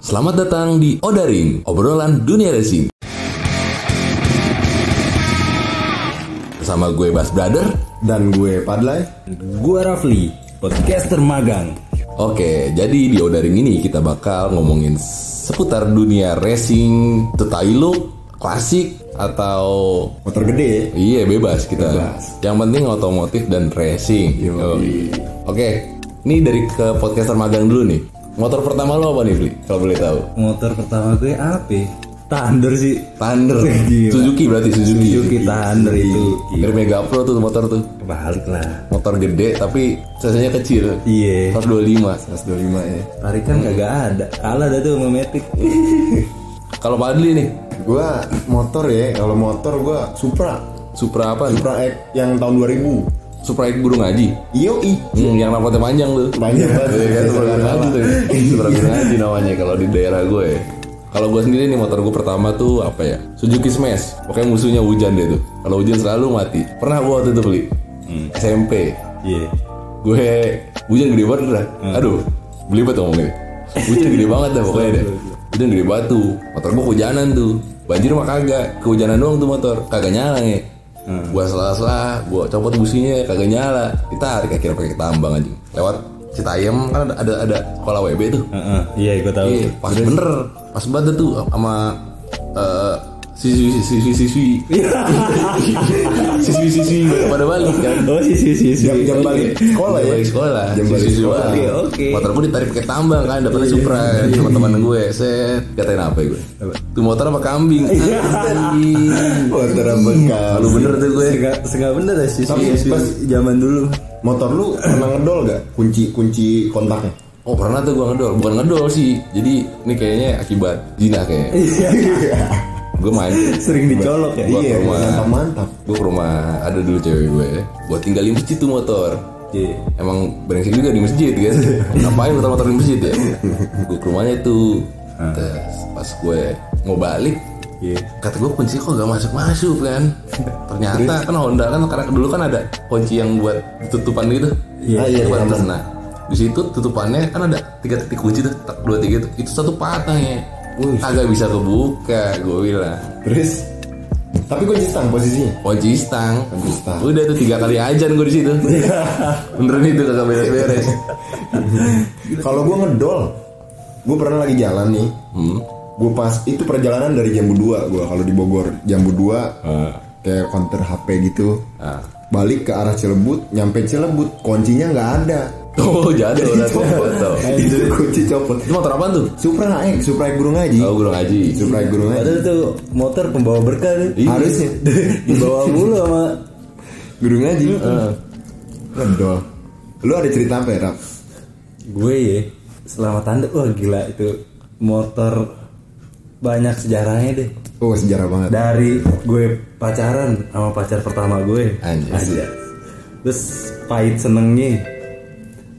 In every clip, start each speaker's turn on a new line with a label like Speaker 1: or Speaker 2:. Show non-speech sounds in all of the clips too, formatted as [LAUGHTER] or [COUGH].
Speaker 1: Selamat datang di Odaring, obrolan dunia racing. Bersama gue Bas Brother.
Speaker 2: Dan gue Padlay
Speaker 3: Gua Rafli, podcaster magang.
Speaker 1: Oke, jadi di Odaring ini kita bakal ngomongin seputar dunia racing, tetai look, klasik, atau
Speaker 2: Motor gede
Speaker 1: Iya bebas kita.
Speaker 2: Bebas.
Speaker 1: Yang penting otomotif dan racing. Yoi. Oke, ini dari ke podcaster magang dulu nih. Motor pertama lo apa nih, Fli? Kalau boleh tahu.
Speaker 3: Motor pertama gue apa? ya? Thunder sih.
Speaker 1: Thunder.
Speaker 3: Gila.
Speaker 1: Suzuki berarti Suzuki.
Speaker 3: Suzuki Thunder itu.
Speaker 1: Dari Mega Pro tuh motor tuh.
Speaker 3: Balik lah.
Speaker 1: Motor gede tapi cc kecil.
Speaker 3: Iya.
Speaker 1: 125.
Speaker 2: 125 ya
Speaker 3: Tarikan kagak ada. Kalah dah tuh sama Matic.
Speaker 1: Kalau Padli nih,
Speaker 2: Gue motor ya Kalau motor gue Supra
Speaker 1: Supra apa?
Speaker 2: Supra X yang tahun 2000
Speaker 1: Supra X burung haji.
Speaker 2: Yoi
Speaker 1: Hmm, yang rambutnya panjang tuh.
Speaker 2: Banyak banget
Speaker 1: Iya kan,
Speaker 2: Saya
Speaker 1: Supra
Speaker 2: salah.
Speaker 1: Gunung Haji tuh ya. Supra Gunung Haji namanya kalau di daerah gue. ya. Kalau gue sendiri nih motor gue pertama tuh apa ya? Suzuki Smash. Pokoknya musuhnya hujan deh tuh. Kalau hujan selalu mati. Pernah gue waktu itu beli SMP.
Speaker 3: Iya.
Speaker 1: Gue hujan gede banget dah. Aduh, belibet ngomongnya. Hujan gede banget dah pokoknya deh. Hujan gede batu. Motor gue kehujanan tuh. Banjir mah kagak. Kehujanan doang tuh motor. Kagak nyala nih. Gua salah-salah, gua copot businya kagak nyala. Ditarik akhirnya pakai tambang aja. Lewat Citayam kan ada ada, ada sekolah WB tuh.
Speaker 3: Heeh. Iya, gue tahu.
Speaker 1: Iya, pas bener, pas banget tuh sama eh, siswi siswi siswi [LAUGHS] siswi siswi pada balik kan.
Speaker 3: Oh, si si si si.
Speaker 2: Jam
Speaker 1: [LAUGHS]
Speaker 2: balik sekolah
Speaker 1: Jam
Speaker 2: ya
Speaker 1: balik sekolah.
Speaker 2: Jam balik
Speaker 1: Siswi
Speaker 2: sekolah Iya.
Speaker 1: doang.
Speaker 3: Oke, oke.
Speaker 1: Motor gue ditarik pakai tambang kan, dapetnya Supra kan, teman-teman gue. Set, katain apa ya gue? Tuh motor apa kambing? Anjing.
Speaker 2: Iya. Motor apa kau?
Speaker 1: Lu bener tuh gue.
Speaker 3: Sega, sega bener ya, dah si
Speaker 2: Tapi
Speaker 3: si si.
Speaker 2: pas
Speaker 3: zaman dulu.
Speaker 2: iya, Motor lu pernah ngedol gak? Kunci-kunci kontaknya
Speaker 1: Oh pernah tuh gue ngedol, bukan ngedol sih. Jadi ini kayaknya akibat zina kayaknya. gue main,
Speaker 3: Sering dicolok ya.
Speaker 1: Gua-
Speaker 2: Iya
Speaker 1: ke rumah.
Speaker 2: Mantap-mantap
Speaker 1: gue ke rumah ada dulu cewek gue. Gue tinggalin di situ motor.
Speaker 3: Iya.
Speaker 1: emang brengsek juga di masjid kan
Speaker 2: [LAUGHS]
Speaker 1: ngapain motor-motor di masjid ya gue ke rumahnya tuh
Speaker 2: Ah.
Speaker 1: terus pas gue mau balik
Speaker 3: Iya.
Speaker 1: kata gue kunci kok gak masuk masuk kan ternyata kan Honda kan karena dulu kan ada kunci yang buat tutupan gitu
Speaker 2: Iya, iya,
Speaker 1: Tutupan
Speaker 2: iya.
Speaker 1: atas. nah di situ tutupannya kan ada tiga titik kunci tuh tak, dua tiga itu itu satu patahnya agak bisa kebuka gue bilang
Speaker 2: Terus Tapi kunci stang posisinya
Speaker 1: kunci stang
Speaker 2: Kunci stang.
Speaker 1: udah tuh tiga kali ajan gue di
Speaker 2: [LAUGHS]
Speaker 1: situ beneran itu kagak beres-beres
Speaker 2: Kalau gue ngedol, gue pernah lagi jalan nih. Gue pas itu perjalanan dari Jambu 2 gue kalau di Bogor Jambu 2 kayak konter HP gitu.
Speaker 1: Ah.
Speaker 2: Balik ke arah Cilebut, nyampe Cilebut kuncinya nggak ada.
Speaker 1: Oh
Speaker 2: [LAUGHS]
Speaker 1: jatuh udah tuh foto.
Speaker 2: itu kunci copot.
Speaker 1: Itu motor apaan tuh?
Speaker 2: Supra X, Supra X Burung Haji.
Speaker 1: Oh gurung haji.
Speaker 2: Supra X Burung Haji.
Speaker 3: Padahal tuh motor pembawa berkah nih.
Speaker 1: Iya.
Speaker 2: Harusnya
Speaker 3: Dibawa mulu sama
Speaker 2: Burung Haji. Ngedol. Lu ada cerita apa ya, Rap?
Speaker 3: gue ya. Selamat tanda. Wah gila itu motor banyak sejarahnya deh.
Speaker 2: Oh, sejarah banget.
Speaker 3: Dari gue pacaran sama pacar pertama gue.
Speaker 1: Anjir.
Speaker 3: Aja. Terus pahit senengnya.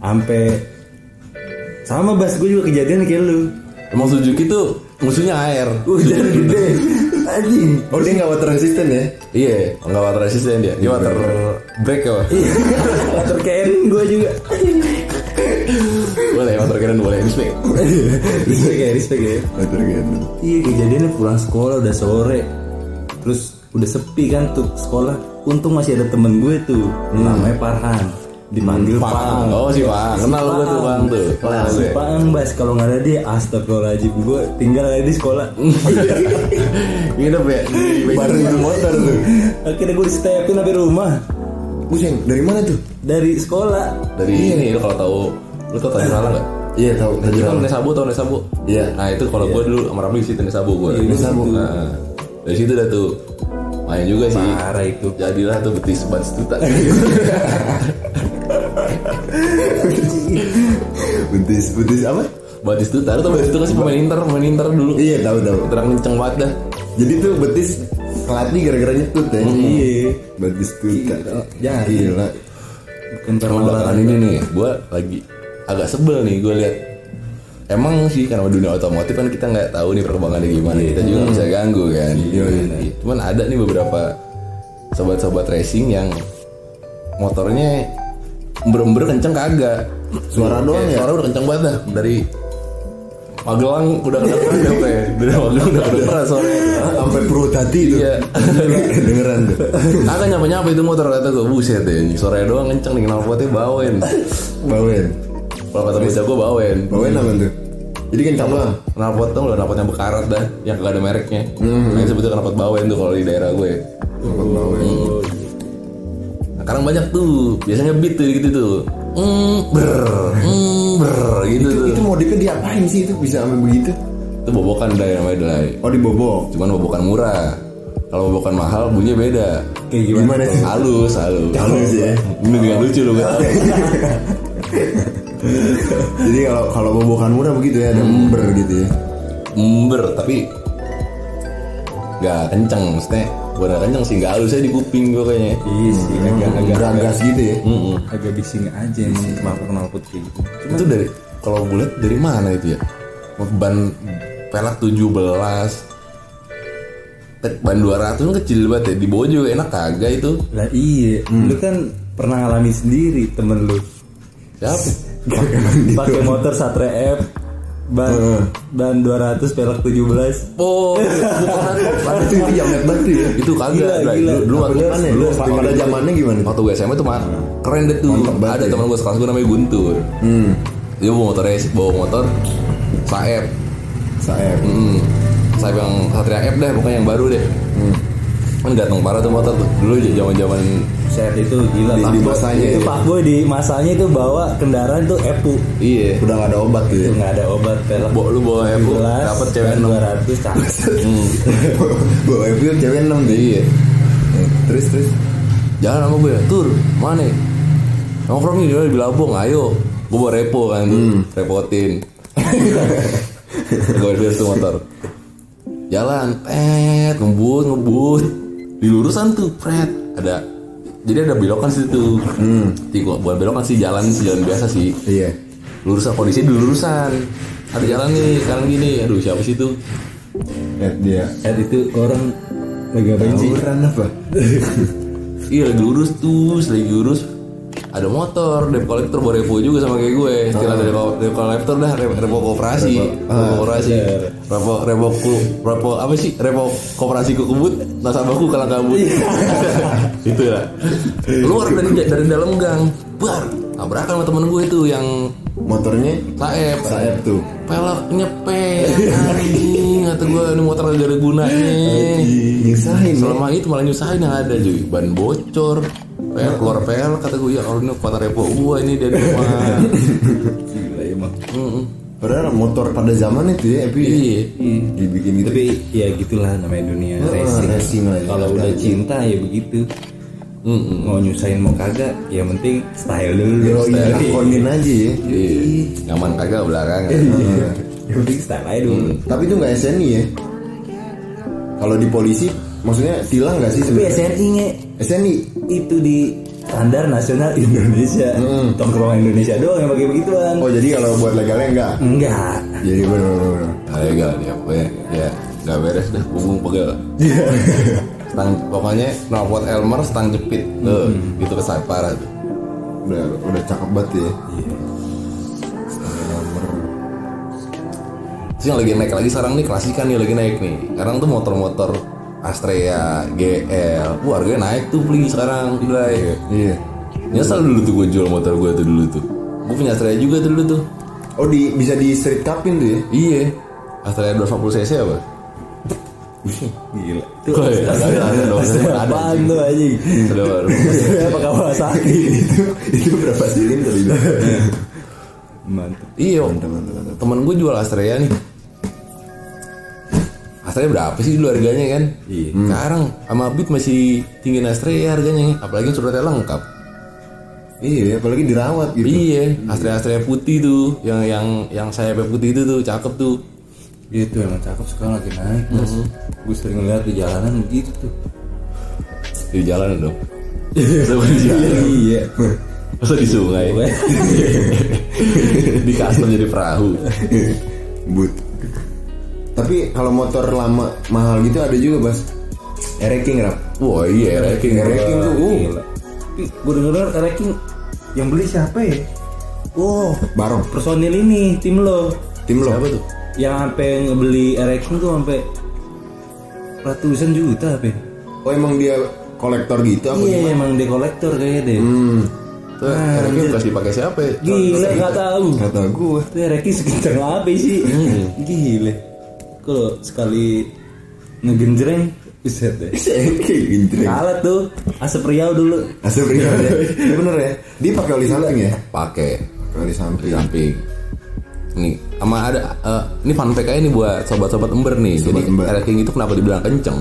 Speaker 3: Ampe sama bas gue juga kejadian kayak lu.
Speaker 1: Emang Suzuki tuh musuhnya air.
Speaker 2: Uh.
Speaker 3: Udah gede. Anjing.
Speaker 2: Oh, dia nggak water resistant ya?
Speaker 1: Iya, nggak water resistant dia. Dia water break ya. Pak?
Speaker 2: Iya.
Speaker 3: Motor keren gue juga.
Speaker 1: Boleh water keren boleh respect.
Speaker 3: respect ya, respect ya.
Speaker 2: Water gitu.
Speaker 3: Iya kejadiannya pulang sekolah udah sore Terus udah sepi kan tuh sekolah Untung masih ada temen gue tuh Namanya Parhan Dipanggil Paang
Speaker 1: Oh si Pang, kenal gue tuh Pang tuh. Iya. Kenal
Speaker 3: Si
Speaker 1: gue.
Speaker 3: Paang bas kalau nggak ada dia Astagfirullahaladzim Gue tinggal aja di [LAUGHS] sekolah
Speaker 1: Nginep ya. di- di-
Speaker 2: Baru itu motor tuh.
Speaker 3: Akhirnya gue stepin sampai rumah
Speaker 2: Pusing, dari mana tuh?
Speaker 3: Dari sekolah
Speaker 1: Dari ini lu kalau tahu lu tau tadi salah nggak?
Speaker 2: Iya, tahu.
Speaker 1: Tadi kan Nesabu tau Nesabu.
Speaker 2: Iya.
Speaker 1: Nah itu kalau gue dulu sama Ramli situ Nesabu gue.
Speaker 3: Iya, Nesabu.
Speaker 1: Nah, dari situ dah tuh main juga sih.
Speaker 3: Parah itu
Speaker 1: Jadilah tuh betis Batistuta. [LAUGHS]
Speaker 2: Betis, betis apa?
Speaker 1: Batistuta, lu tau Batistuta kan sih pemain Inter, pemain Inter dulu.
Speaker 2: Iya tahu tahu.
Speaker 1: Terang kenceng banget dah.
Speaker 2: Jadi tuh betis pelatih gara-gara nyetut ya.
Speaker 3: Iya
Speaker 2: Betis tuh tak.
Speaker 3: Ya, iya.
Speaker 2: Gila.
Speaker 3: Bukan karena
Speaker 1: Cuma belakangan ini nih, gue lagi agak sebel nih gue lihat. Emang sih karena dunia otomotif kan kita nggak tahu nih perkembangannya gimana. Kita juga nggak bisa ganggu kan. Cuman ada nih beberapa sobat-sobat racing yang motornya ember-ember kenceng kagak.
Speaker 2: Suara doang
Speaker 1: Kayak
Speaker 2: ya?
Speaker 1: Suara udah kenceng banget dah dari Magelang udah kedengeran ya Pre. [LAUGHS] Dari Magelang udah kedengeran soalnya
Speaker 2: sampai perut hati itu
Speaker 1: Iya.
Speaker 2: dengeran tuh
Speaker 1: Kagak nyapa-nyapa itu motor kata gue Buset ya anjing, Sore doang kenceng nih knalpotnya bawen
Speaker 2: bawen
Speaker 1: Kalau kata bocah gue bawen
Speaker 2: bawen apa tuh jadi kan kamlang
Speaker 1: Knalpot tuh udah knalpotnya bekarat dah Yang kagak ada mereknya
Speaker 2: Hmm.
Speaker 1: Yang sebetulnya knalpot bawen tuh kalau di daerah gue Hmm.
Speaker 2: Tempat bawen
Speaker 1: Nah, Sekarang banyak tuh Biasanya beat tuh gitu tuh Mm, ber, mm, ber, gitu tuh.
Speaker 2: itu modifnya diapain sih itu bisa sampai begitu
Speaker 1: Itu bobokan dai namanya dai.
Speaker 2: oh dibobok
Speaker 1: Cuman bobokan murah. Kalau bobokan mahal bunyinya beda.
Speaker 3: Kayak gimana?
Speaker 2: gimana sih
Speaker 1: Halus, halus.
Speaker 2: Halus ya.
Speaker 1: Ini dengan lucu loh. Bang.
Speaker 2: jadi kalau kalau bobokan murah begitu ya ada
Speaker 3: Hmm.
Speaker 2: ember gitu ya
Speaker 1: Ember tapi nggak kenceng maksudnya. Bukan nggak kenceng sih, nggak halus aja di kuping gue kayaknya.
Speaker 3: Iya sih, agak-agak
Speaker 2: beragas gitu ya
Speaker 1: Mm-mm.
Speaker 3: agak bising aja sih kenapa knalpot kayak gitu.
Speaker 1: Itu dari kalau gue lihat dari mana itu ya? Ban pelak 17 Tek- Ban 200 kan kecil banget ya Di bawah juga enak kagak itu
Speaker 3: Lah iya, lu kan pernah ngalamin sendiri temen [LAUGHS] lu.
Speaker 1: Siapa?
Speaker 3: Pakai motor Satria F ban ban 200 pelek 17.
Speaker 1: Oh, bukan.
Speaker 2: itu itu jamet banget tuh ya
Speaker 1: itu kagak
Speaker 3: Gila,
Speaker 1: Bray.
Speaker 3: gila.
Speaker 1: dulu, dulu waktu
Speaker 2: Beneran ya?
Speaker 1: dulu
Speaker 2: Dulu
Speaker 1: waktu-
Speaker 2: pada zamannya gimana?
Speaker 1: waktu gue SMA tuh mah keren deh tuh
Speaker 2: Mantap banget
Speaker 1: ada
Speaker 2: ya.
Speaker 1: teman gue sekelas gue namanya Guntur
Speaker 2: hmm
Speaker 1: dia bawa motor race bawa motor Saeb
Speaker 2: saya
Speaker 1: hmm. Saeb yang Satria F deh pokoknya yang baru deh kan ganteng parah tuh motor tuh dulu aja zaman zaman
Speaker 3: Set itu gila
Speaker 2: Di-
Speaker 3: Pak
Speaker 2: di
Speaker 3: Boy.
Speaker 2: masanya
Speaker 3: Itu
Speaker 2: ya.
Speaker 3: Pak Boy di masanya itu bawa kendaraan tuh epu.
Speaker 1: iya
Speaker 2: udah gak ada obat tuh
Speaker 3: Itu
Speaker 2: ya
Speaker 3: nggak ada obat pelek
Speaker 1: Bo, lu bawa Evo
Speaker 3: 17.
Speaker 1: dapat cewek
Speaker 3: ban
Speaker 1: enam
Speaker 3: 200 [LAUGHS] cakep.
Speaker 1: Hmm.
Speaker 2: bawa itu cewek enam deh
Speaker 1: iya
Speaker 2: terus terus
Speaker 1: jalan sama gue tur mana nongkrong nih dia di Labong ayo gue bawa repo kan repotin gue udah tuh motor jalan pet ngebut ngebut di lurusan tuh pret ada jadi ada belokan situ hmm. bukan belokan sih jalan sih jalan biasa sih
Speaker 2: iya
Speaker 1: lurusan kondisi di lurusan ada jalan nih sekarang gini aduh siapa sih tuh
Speaker 2: lihat dia
Speaker 3: Set itu orang lagi ngapain sih?
Speaker 2: tawuran apa
Speaker 1: Iya lagi lurus tuh, lagi lurus ada motor, debt collector bawa repo juga sama kayak gue. Setelah ada debt debt collector dah repo, repo koperasi, repo koperasi, repo repo ku, repo apa sih? Repo koperasi ku kebut, nasabahku kalang kabut. [LAUGHS] itu lah. Keluar dari dari dalam gang, bar tabrakan sama temen gue tuh yang
Speaker 2: motornya
Speaker 1: saep.
Speaker 2: saya tuh
Speaker 1: Pelok nyepet anjing kata gue ini motor gak ada gunanya.
Speaker 2: nyusahin ya
Speaker 1: Selama itu malah nyusahin yang ada cuy Ban bocor Pel,
Speaker 2: Nah.
Speaker 1: keluar pel Kata gue ya Allah ini kota repo gue ini dari
Speaker 2: [LAUGHS]
Speaker 1: rumah
Speaker 2: Nah,
Speaker 1: Gitu,
Speaker 3: Gila
Speaker 2: ya,
Speaker 3: emang.
Speaker 1: Mm-mm.
Speaker 2: padahal motor pada zaman itu ya tapi
Speaker 1: Iya
Speaker 2: dibikin gitu
Speaker 3: Tapi ya gitulah namanya dunia
Speaker 2: Ah,
Speaker 3: racing.
Speaker 2: racing lah ya.
Speaker 3: Kalau udah cinta ya begitu.
Speaker 1: Mm-mm.
Speaker 3: Mau nyusahin mau kagak, yang penting style dulu.
Speaker 2: yo iya,
Speaker 3: Style.
Speaker 2: lakonin aja ya
Speaker 1: Iya Nyaman kagak ya? belakangan
Speaker 3: Iya. Yang penting style aja dulu.
Speaker 2: tapi itu nggak SNI ya kalau di polisi maksudnya tilang nggak sih
Speaker 3: Tapi
Speaker 2: sebenarnya
Speaker 3: SNI nya
Speaker 2: SNI
Speaker 3: itu di standar nasional Indonesia. Tongkrongan Indonesia doang yang pakai begituan.
Speaker 2: oh jadi kalau buat legalnya enggak
Speaker 3: Enggak.
Speaker 2: jadi bener bener, bener.
Speaker 1: Nah, legal ya pokoknya Ya gak beres dah Punggung pegel
Speaker 2: Iya.
Speaker 1: Stang, Pokoknya knalpot Elmer stang jepit Tuh
Speaker 2: Hmm.
Speaker 1: Itu kesan parah tuh
Speaker 2: udah udah cakep banget
Speaker 3: Iya.
Speaker 2: ya
Speaker 1: Terus yang lagi naik lagi sekarang nih klasikan nih lagi naik nih. Sekarang tuh motor-motor Astrea, GL, wah harganya naik tuh beli sekarang, Bray.
Speaker 2: iya
Speaker 1: Nyesel dulu tuh gue jual motor gue tuh dulu tuh. Gue punya Astrea juga tuh dulu tuh.
Speaker 2: oh di bisa di street cupin tuh ya
Speaker 1: Iya. Astrea 250 cc apa?
Speaker 3: Gila. Itu
Speaker 1: Oh, iya. Ada, ada, ada, ada, ada.
Speaker 3: apaan tuh anjing?
Speaker 1: Ada baru.
Speaker 3: Apa Kawasaki?
Speaker 2: itu itu berapa silinder itu
Speaker 3: Mantap.
Speaker 1: Iya. Temen gue jual Astrea nih. Astrea berapa sih dulu harganya kan?
Speaker 3: Iya.
Speaker 1: Hmm. Sekarang sama Beat masih tinggi Astrea harganya, apalagi suratnya lengkap.
Speaker 2: iya apalagi dirawat gitu
Speaker 1: Iya, Astrea-Astrea putih tuh, yang yang yang sayapnya putih itu tuh cakep tuh.
Speaker 3: Itu emang cakep sekarang lagi naik. Mas. Gue Nah, sering lihat di jalanan begitu.
Speaker 1: Di jalan dong. Masa di jalan?
Speaker 3: Iya.
Speaker 1: Masa di sungai?
Speaker 2: Iya.
Speaker 1: di custom jadi perahu.
Speaker 2: but tapi kalau motor lama mahal gitu ada juga bas ereking rap
Speaker 1: Wah iya, racking.
Speaker 2: ereking tuh uh
Speaker 3: Gue denger ranking yang beli siapa ya? Oh,
Speaker 2: barong
Speaker 3: personil ini tim lo.
Speaker 2: tim lo
Speaker 1: Siapa tuh?
Speaker 3: yang sampai ngebeli erection tuh sampai ratusan juta apa? ya?
Speaker 2: Oh emang dia kolektor gitu apa
Speaker 3: Iya emang dia kolektor kayaknya deh.
Speaker 2: Hmm.
Speaker 1: Tuh, anaknya bekas dipakai siapa ya?
Speaker 3: Gila nggak tahu. Iya.
Speaker 2: Kata gue.
Speaker 3: Tuh ereksi sekitar apa sih? Gile. Kalau sekali ngegenjreng, buset deh.
Speaker 2: Ginjreng.
Speaker 1: Ah.
Speaker 3: Kalah tuh asap riau dulu.
Speaker 2: Asal pria.
Speaker 1: [LAUGHS]
Speaker 2: Bener ya. Dia pakai oli samping ya.
Speaker 1: Pakai
Speaker 2: Pakai oli
Speaker 1: di
Speaker 2: samping.
Speaker 1: samping. Nih, sama ada eh, ini fun fact aja nih buat sobat-sobat ember nih.
Speaker 2: Sobat
Speaker 1: Jadi
Speaker 2: ember.
Speaker 1: rating itu kenapa dibilang kenceng?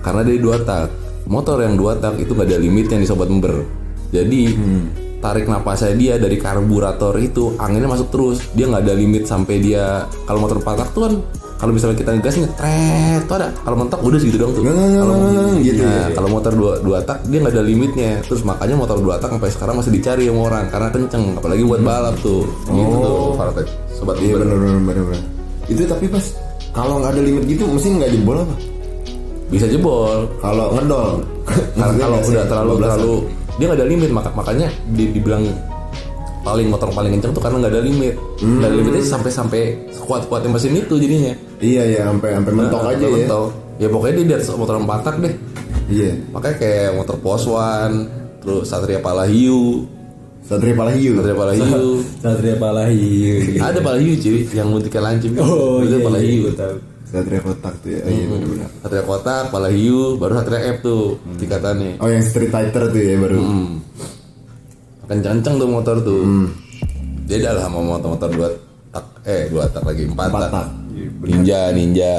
Speaker 1: Karena dari dua tak. Motor yang dua tak itu nggak ada limitnya nih sobat ember. Jadi
Speaker 2: Hmm.
Speaker 1: tarik napasnya dia dari karburator itu anginnya masuk terus. Dia nggak ada limit sampai dia kalau motor empat tak tuh kan kalau misalnya kita ngegas ngetret tuh ada kalau mentok udah segitu doang tuh.
Speaker 2: Nggak, nggak, nggak, nggak, nggak, gitu ya.
Speaker 1: Nah, kalau motor dua, dua tak dia nggak ada limitnya. Terus makanya motor dua tak sampai sekarang masih dicari sama orang karena kenceng, apalagi buat balap tuh. Gitu tuh, Farfetch. Sobat
Speaker 2: Iya
Speaker 1: Uber.
Speaker 2: bener bener bener bener. Itu tapi pas kalau nggak ada limit gitu mesti nggak jebol apa?
Speaker 1: Bisa jebol.
Speaker 2: Kalau ngedol.
Speaker 1: Karena
Speaker 2: Maksudnya
Speaker 1: kalau
Speaker 2: nggak sih?
Speaker 1: udah terlalu
Speaker 2: 12-an.
Speaker 1: terlalu dia nggak ada limit maka makanya di- dibilang paling motor paling kenceng tuh karena nggak ada limit. Nggak ada limitnya sampai sampai kuat kuatnya mesin itu jadinya.
Speaker 2: Iya ya sampai sampai mentok
Speaker 1: Nah,
Speaker 2: aja ya.
Speaker 1: mentok. Ya pokoknya dia di atas motor empat tak deh.
Speaker 2: Iya.
Speaker 1: Makanya kayak motor poswan, terus Satria Palahiu,
Speaker 2: Satria Palahiu.
Speaker 1: Satria [LAUGHS] Palahiu.
Speaker 3: Satria Palahi.
Speaker 1: Ada pala hiu cuy yang muntikan lancip.
Speaker 3: Gitu.
Speaker 1: kan.
Speaker 3: Oh
Speaker 1: itu
Speaker 3: iya,
Speaker 1: pala
Speaker 3: iya,
Speaker 1: hiu.
Speaker 3: gua tahu.
Speaker 2: Satria kotak tuh ya. Oh, iya bener bener.
Speaker 1: Satria kotak, pala hiu, baru satria F tuh
Speaker 3: Hmm.
Speaker 1: tingkatannya.
Speaker 2: Oh yang street fighter tuh ya baru.
Speaker 1: Kenceng-kenceng tuh motor tuh.
Speaker 3: Hmm.
Speaker 1: Beda lah sama motor-motor dua tak eh dua tak lagi empat,
Speaker 2: Empat
Speaker 1: tak.
Speaker 2: tak.
Speaker 3: Iya,
Speaker 1: Ninja ninja.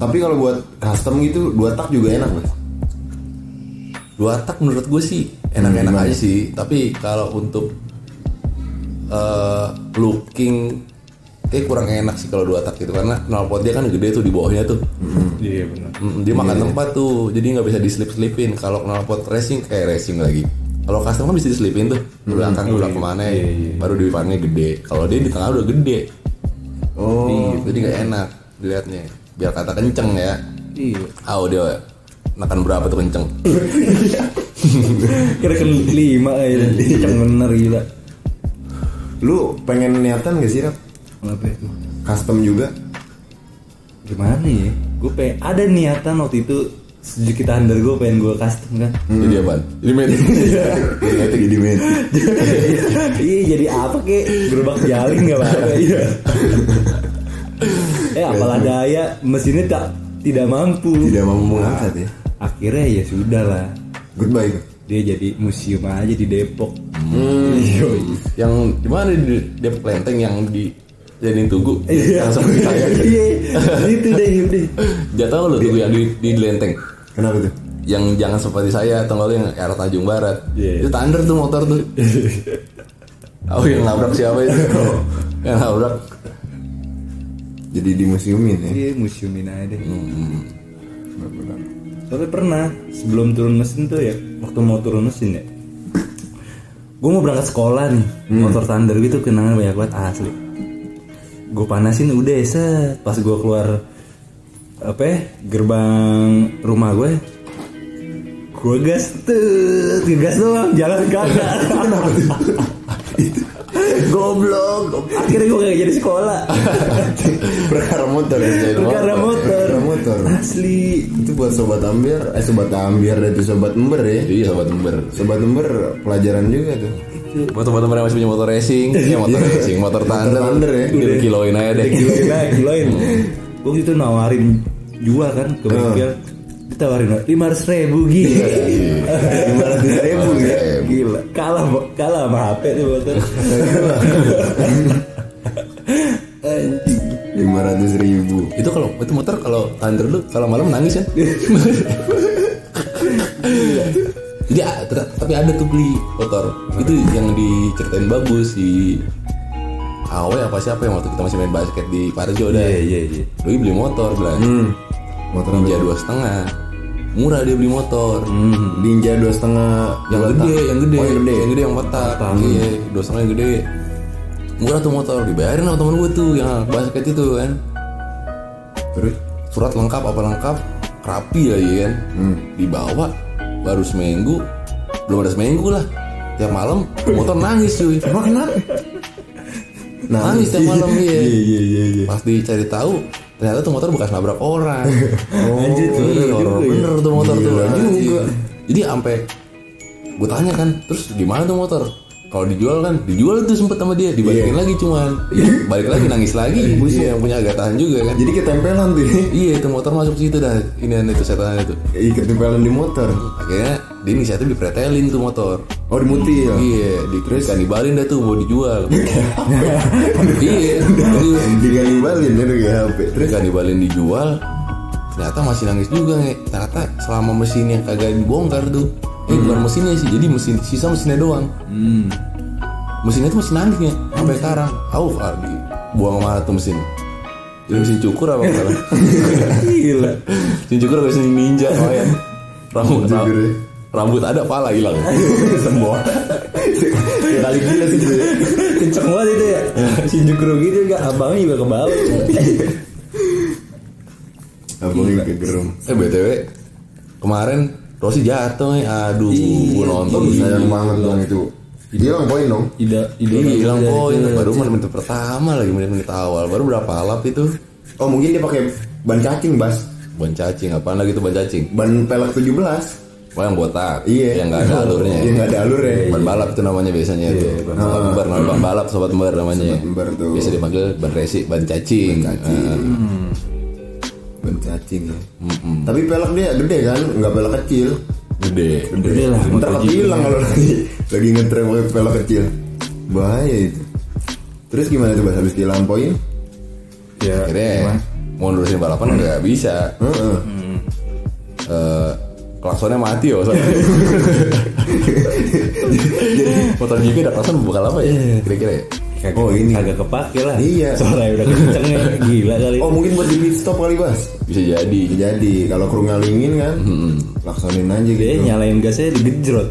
Speaker 2: Tapi kalau buat custom gitu dua tak juga enak mas.
Speaker 1: Dua tak menurut gue sih enak-enak
Speaker 2: Hmm, gimana?
Speaker 1: aja sih. Tapi kalau untuk eh, looking kayak kurang enak sih kalau dua tak itu karena knalpot dia kan gede tuh di bawahnya tuh.
Speaker 2: Hmm.
Speaker 3: Iya benar.
Speaker 1: Mm, dia makan tempat tuh, jadi nggak bisa diselip-selipin. Kalau knalpot racing, eh racing lagi. Kalau custom kan bisa diselipin tuh, ke
Speaker 2: Hmm.
Speaker 1: belakang,
Speaker 3: Oh,
Speaker 1: udah
Speaker 3: iya.
Speaker 1: kemana ya. Baru di depannya gede. Kalau dia di tengah udah gede,
Speaker 2: Oh.
Speaker 1: gitu. Jadi nggak enak dilihatnya. Biar kata kenceng ya.
Speaker 3: Iya.
Speaker 1: Ah dia makan berapa tuh kenceng?
Speaker 3: Kira kan lima aja. Kenceng bener gila.
Speaker 2: Lu pengen niatan gak sih Rap?
Speaker 3: Apa itu?
Speaker 2: Custom juga?
Speaker 3: Gimana ya? Gue pengen ada niatan waktu itu sedikit under gue pengen gue custom [LAUGHS] kan.
Speaker 1: Jadi
Speaker 2: Hmm.
Speaker 1: apa? Jadi main.
Speaker 2: Jadi di
Speaker 3: Iya jadi apa kek gerobak jalin nggak apa-apa [LAUGHS] iya. eh apalah daya mesinnya tak tidak mampu.
Speaker 2: Tidak mampu mengangkat ya.
Speaker 3: Akhirnya ya sudah lah
Speaker 2: Goodbye.
Speaker 3: dia jadi museum aja di Depok. Yoi.
Speaker 1: yang di mana di Depok Lenteng yang di jadiin tugu.
Speaker 3: Iya.
Speaker 1: Yang seperti saya.
Speaker 3: [LAUGHS] Iya. Itu deh udah.
Speaker 1: Jatuh lu tugu yang di, di Lenteng.
Speaker 2: Kenapa tuh?
Speaker 1: yang jangan seperti saya atau nggak lu yang arah Tanjung Barat
Speaker 3: Iya.
Speaker 1: itu thunder tuh motor tuh oh yang nabrak siapa itu yang nabrak
Speaker 2: Jadi di museumin ya.
Speaker 3: Iya museumin aja deh.
Speaker 2: Hmm,
Speaker 3: Soalnya pernah sebelum turun mesin tuh ya, waktu mau turun mesin ya, gue mau berangkat sekolah nih,
Speaker 2: Hmm.
Speaker 3: motor Thunder gitu kenangan banyak banget asli. Gue panasin udah set, pas gue keluar apa ya, gerbang rumah gue, gue gas tuh, gas doang, jalan kagak. Goblok, akhirnya gue gak jadi sekolah
Speaker 2: Perkara motor ya. jadi
Speaker 3: Perkara motor
Speaker 2: Perkara motor.
Speaker 3: Asli
Speaker 2: Itu buat sobat ambiar, eh sobat ambiar dan itu sobat ember ya.
Speaker 1: iya sobat ember
Speaker 2: Sobat ember pelajaran juga tuh.
Speaker 1: buat teman-teman yang masih punya motor racing ya motor
Speaker 2: Iya.
Speaker 1: racing motor
Speaker 2: Motor
Speaker 1: thunder,
Speaker 2: Thunder ya.
Speaker 1: kilo kiloin aja deh
Speaker 3: kiloin aja kiloin gue itu nawarin jual kan ke bengkel ditawarin lima ratus ribu gila
Speaker 2: Lima ratus ribu ya.
Speaker 3: gila kalah Bo- kalah sama HP tuh motor Anjing.
Speaker 2: Lima ratus ribu.
Speaker 1: itu kalau itu motor kalau thunder lu kalau malam nangis ya jadi ah, tetap- tapi ada tuh beli motor itu yang diceritain bagus si Awe apa siapa yang waktu kita masih main basket di Parjo dah
Speaker 3: iya iya iya
Speaker 1: Lui beli motor bilang
Speaker 2: Hmm. Motor
Speaker 1: Ninja dua setengah murah dia beli motor
Speaker 2: Ninja dua setengah
Speaker 1: yang
Speaker 2: dua
Speaker 1: gede
Speaker 2: tak.
Speaker 1: yang gede
Speaker 2: Oh, yang gede
Speaker 1: yang kotak iya dua setengah yang gede murah tuh motor dibayarin sama temen gue tuh yang anak basket itu kan
Speaker 2: terus
Speaker 1: surat lengkap apa lengkap rapi ya iya kan dibawa baru seminggu belum ada seminggu lah tiap malam motor nangis cuy
Speaker 2: emang kenapa
Speaker 1: nangis tiap malam iya
Speaker 3: Iya iya iya iya.
Speaker 1: pas dicari tahu ternyata tuh motor bekas nabrak orang
Speaker 3: Oh, Anjir,
Speaker 1: Iya,
Speaker 3: bener juga
Speaker 1: horor
Speaker 3: ya.
Speaker 1: bener tuh motor tuh
Speaker 2: Gila
Speaker 1: anjing.
Speaker 2: juga.
Speaker 1: jadi sampai gue tanya kan terus gimana tuh motor kalau dijual kan dijual tuh sempet sama dia dibalikin lagi cuman Ya, balik lagi nangis lagi busnya Iya, yang punya agak tahan juga kan
Speaker 2: Jadi ketempelan tuh. [LAUGHS]
Speaker 1: iya itu motor masuk situ dah ini itu setan itu
Speaker 2: Iya ketempelan di motor.
Speaker 1: akhirnya dia inisiatif dipretelin tuh motor
Speaker 2: Oh dimutil.
Speaker 1: iya di terus kanibalin dah tuh mau [LAUGHS] dijual iya jadi-
Speaker 2: Digalibalin ya dari HP. Terus
Speaker 1: Terus gak dibalin dijual Ternyata masih nangis juga nge. Ternyata selama mesinnya kagak dibongkar tuh Eh
Speaker 3: Hmm.
Speaker 1: bukan mesinnya sih Jadi mesin sisa mesinnya doang Mesinnya tuh mesin nangis ya Sampai sekarang Tahu ah, di- buang kemana tuh mesin Jadi mesin cukur apa kata
Speaker 3: [LAUGHS] Gila.
Speaker 1: Mesin cukur apa mesin ninja oh ya Rambut
Speaker 2: Jujur ya.
Speaker 1: Rambut ada pala hilang Semua
Speaker 2: kali gila sih gitu ya.
Speaker 3: Kenceng banget itu ya. Shinjuku gitu enggak abangnya juga ke bawah.
Speaker 2: Abangnya kegerem.
Speaker 1: Eh BTW Kemarin Rosi jatuh nih Aduh
Speaker 3: Iya,
Speaker 1: Nonton
Speaker 2: Aduh,
Speaker 1: saya
Speaker 2: Oh, sayang banget dong itu. Dia orang poin dong.
Speaker 3: Ida ida
Speaker 1: Iya, hilang poin baru
Speaker 2: iya."
Speaker 1: menit pertama lagi menit-menit awal baru berapa lap itu
Speaker 2: Oh mungkin dia pakai ban cacing bas.
Speaker 1: ban cacing apaan lagi tuh ban cacing
Speaker 2: Ban pelek 17
Speaker 1: oh yang botak
Speaker 2: Iya.
Speaker 1: yang nggak ada alurnya
Speaker 2: Iya nggak ada alurnya.
Speaker 1: ban balap itu namanya biasanya itu ban bar nah, ban balap sobat bar namanya
Speaker 2: Sobat bar tuh.
Speaker 1: biasa dipanggil ban resi ban cacing Ah,
Speaker 2: Cacing. Ban cacing. Tapi pelek dia gede kan, nggak pelek kecil.
Speaker 1: gede
Speaker 3: Gede lah.
Speaker 2: Ntar kebilang kalau lagi lagi ngetrem pakai pelek kecil. Bahaya itu. Terus gimana tuh bas habis dilampoin?
Speaker 3: Ya.
Speaker 1: akhirnya mau nurusin balapan nggak bisa
Speaker 2: Heeh.
Speaker 1: Eh, klaksonnya mati ya
Speaker 2: [LAUGHS]
Speaker 1: soalnya. motor GP ada klakson bukan apa ya kira-kira ya
Speaker 3: Kagak,
Speaker 2: Oh, ini.
Speaker 3: kagak kepake lah.
Speaker 2: Iya.
Speaker 3: Soalnya udah
Speaker 2: [LAUGHS]
Speaker 3: kencengnya gila kali.
Speaker 2: Oh mungkin buat di pit stop kali bas.
Speaker 1: bisa jadi Hmm.
Speaker 2: Jadi kalau kru ngalingin kan, laksonin aja
Speaker 3: Dia
Speaker 2: gitu.
Speaker 3: nyalain gasnya digejrot.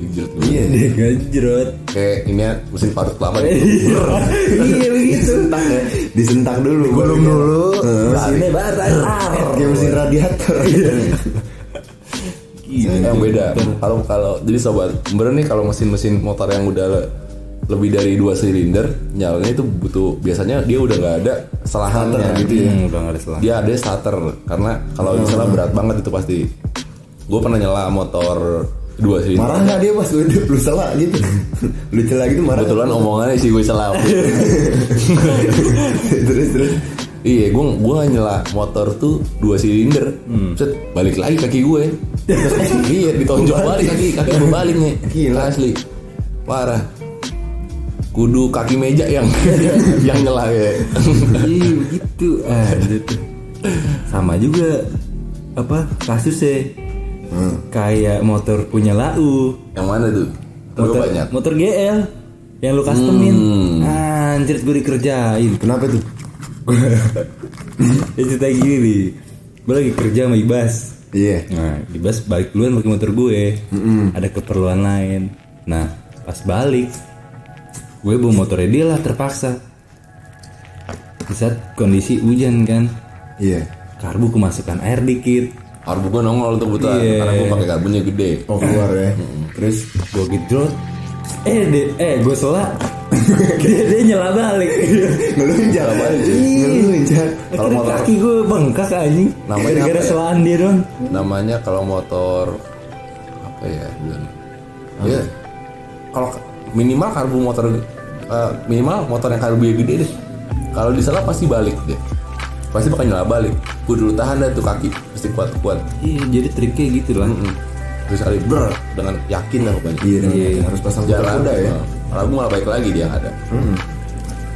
Speaker 1: Dijerat dulu.
Speaker 2: Iya.
Speaker 3: Digejrot.
Speaker 1: kayak ini ya mesin parut lama nih.
Speaker 3: Iya
Speaker 2: [LAUGHS]
Speaker 3: begitu.
Speaker 2: Disentak dulu. Belum dulu.
Speaker 3: Mesinnya barat.
Speaker 2: [LAUGHS] Kayak mesin radiator.
Speaker 3: Iya.
Speaker 2: Gitu ya.
Speaker 1: yang beda kalau kalau jadi sobat bener nih kalau mesin-mesin motor yang udah le- lebih dari dua silinder nyalanya itu butuh biasanya dia udah nggak ada kesalahannya
Speaker 2: gitu ya.
Speaker 3: Hmm, udah nggak ada selang.
Speaker 1: dia ada starter karena kalau
Speaker 2: Hmm.
Speaker 1: misalnya berat banget itu pasti gue pernah nyela motor dua silinder
Speaker 2: Marah nggak dia pas lu lu salah
Speaker 3: [LAUGHS]
Speaker 2: gitu. Lu celah gitu marah.
Speaker 1: kebetulan omongannya sih gue salah
Speaker 2: terus terus.
Speaker 1: iya gue gue nyela motor tuh dua silinder Set, balik lagi kaki gue iya ditonjok balik kaki kaki gue balik nih
Speaker 2: Gila.
Speaker 1: asli parah kudu kaki meja yang [LAUGHS] yang nyela ya
Speaker 3: Iya gitu. Ah, gitu. Sama juga apa kasusnya
Speaker 2: Hmm.
Speaker 3: kayak motor punya lau
Speaker 1: yang mana tuh gue
Speaker 3: motor,
Speaker 1: banyak
Speaker 3: motor GL yang lu customin anjir gue dikerjain
Speaker 2: Hmm. Kenapa
Speaker 3: [LAUGHS]
Speaker 2: tuh?
Speaker 3: ya cerita gini nih gue lagi kerja sama Ibas
Speaker 2: Iya.
Speaker 3: nah Ibas balik duluan pakai motor gue ada keperluan lain nah pas balik gue bawa motornya dia lah terpaksa di saat kondisi hujan kan
Speaker 2: Iya.
Speaker 3: karbu kemasukan air dikit
Speaker 1: karbu gue nongol tuh buta
Speaker 3: Iya.
Speaker 1: karena gue pakai karbunnya gede
Speaker 2: Oh keluar ya.
Speaker 3: terus gue gedrot eh de- eh gue salah [LAUGHS] dia, dia nyela balik
Speaker 2: Ngelunjak balik. Ngelunjak.
Speaker 1: Kalau
Speaker 3: kalau
Speaker 1: motor-
Speaker 3: kaki gue bengkak anjing
Speaker 1: Namanya apa
Speaker 3: gara-gara
Speaker 1: ya?
Speaker 3: selaan dia doang
Speaker 1: namanya kalau motor apa ya bulan ya kalau k- minimal karbu motor eh, minimal motor yang karbu gede deh kalau disalah pasti balik deh pasti bakal nyala balik gue dulu tahan dah tuh kaki pasti kuat kuat
Speaker 3: Iya, jadi triknya gitu [LAUGHS] lah.
Speaker 1: terus kali ber dengan yakin lah pokoknya
Speaker 2: Iya. dong.
Speaker 3: Iya.
Speaker 2: Harus pasang kuda
Speaker 1: jalan
Speaker 2: kuda ya.
Speaker 1: eh, malah gue malah baik lagi dia yang ada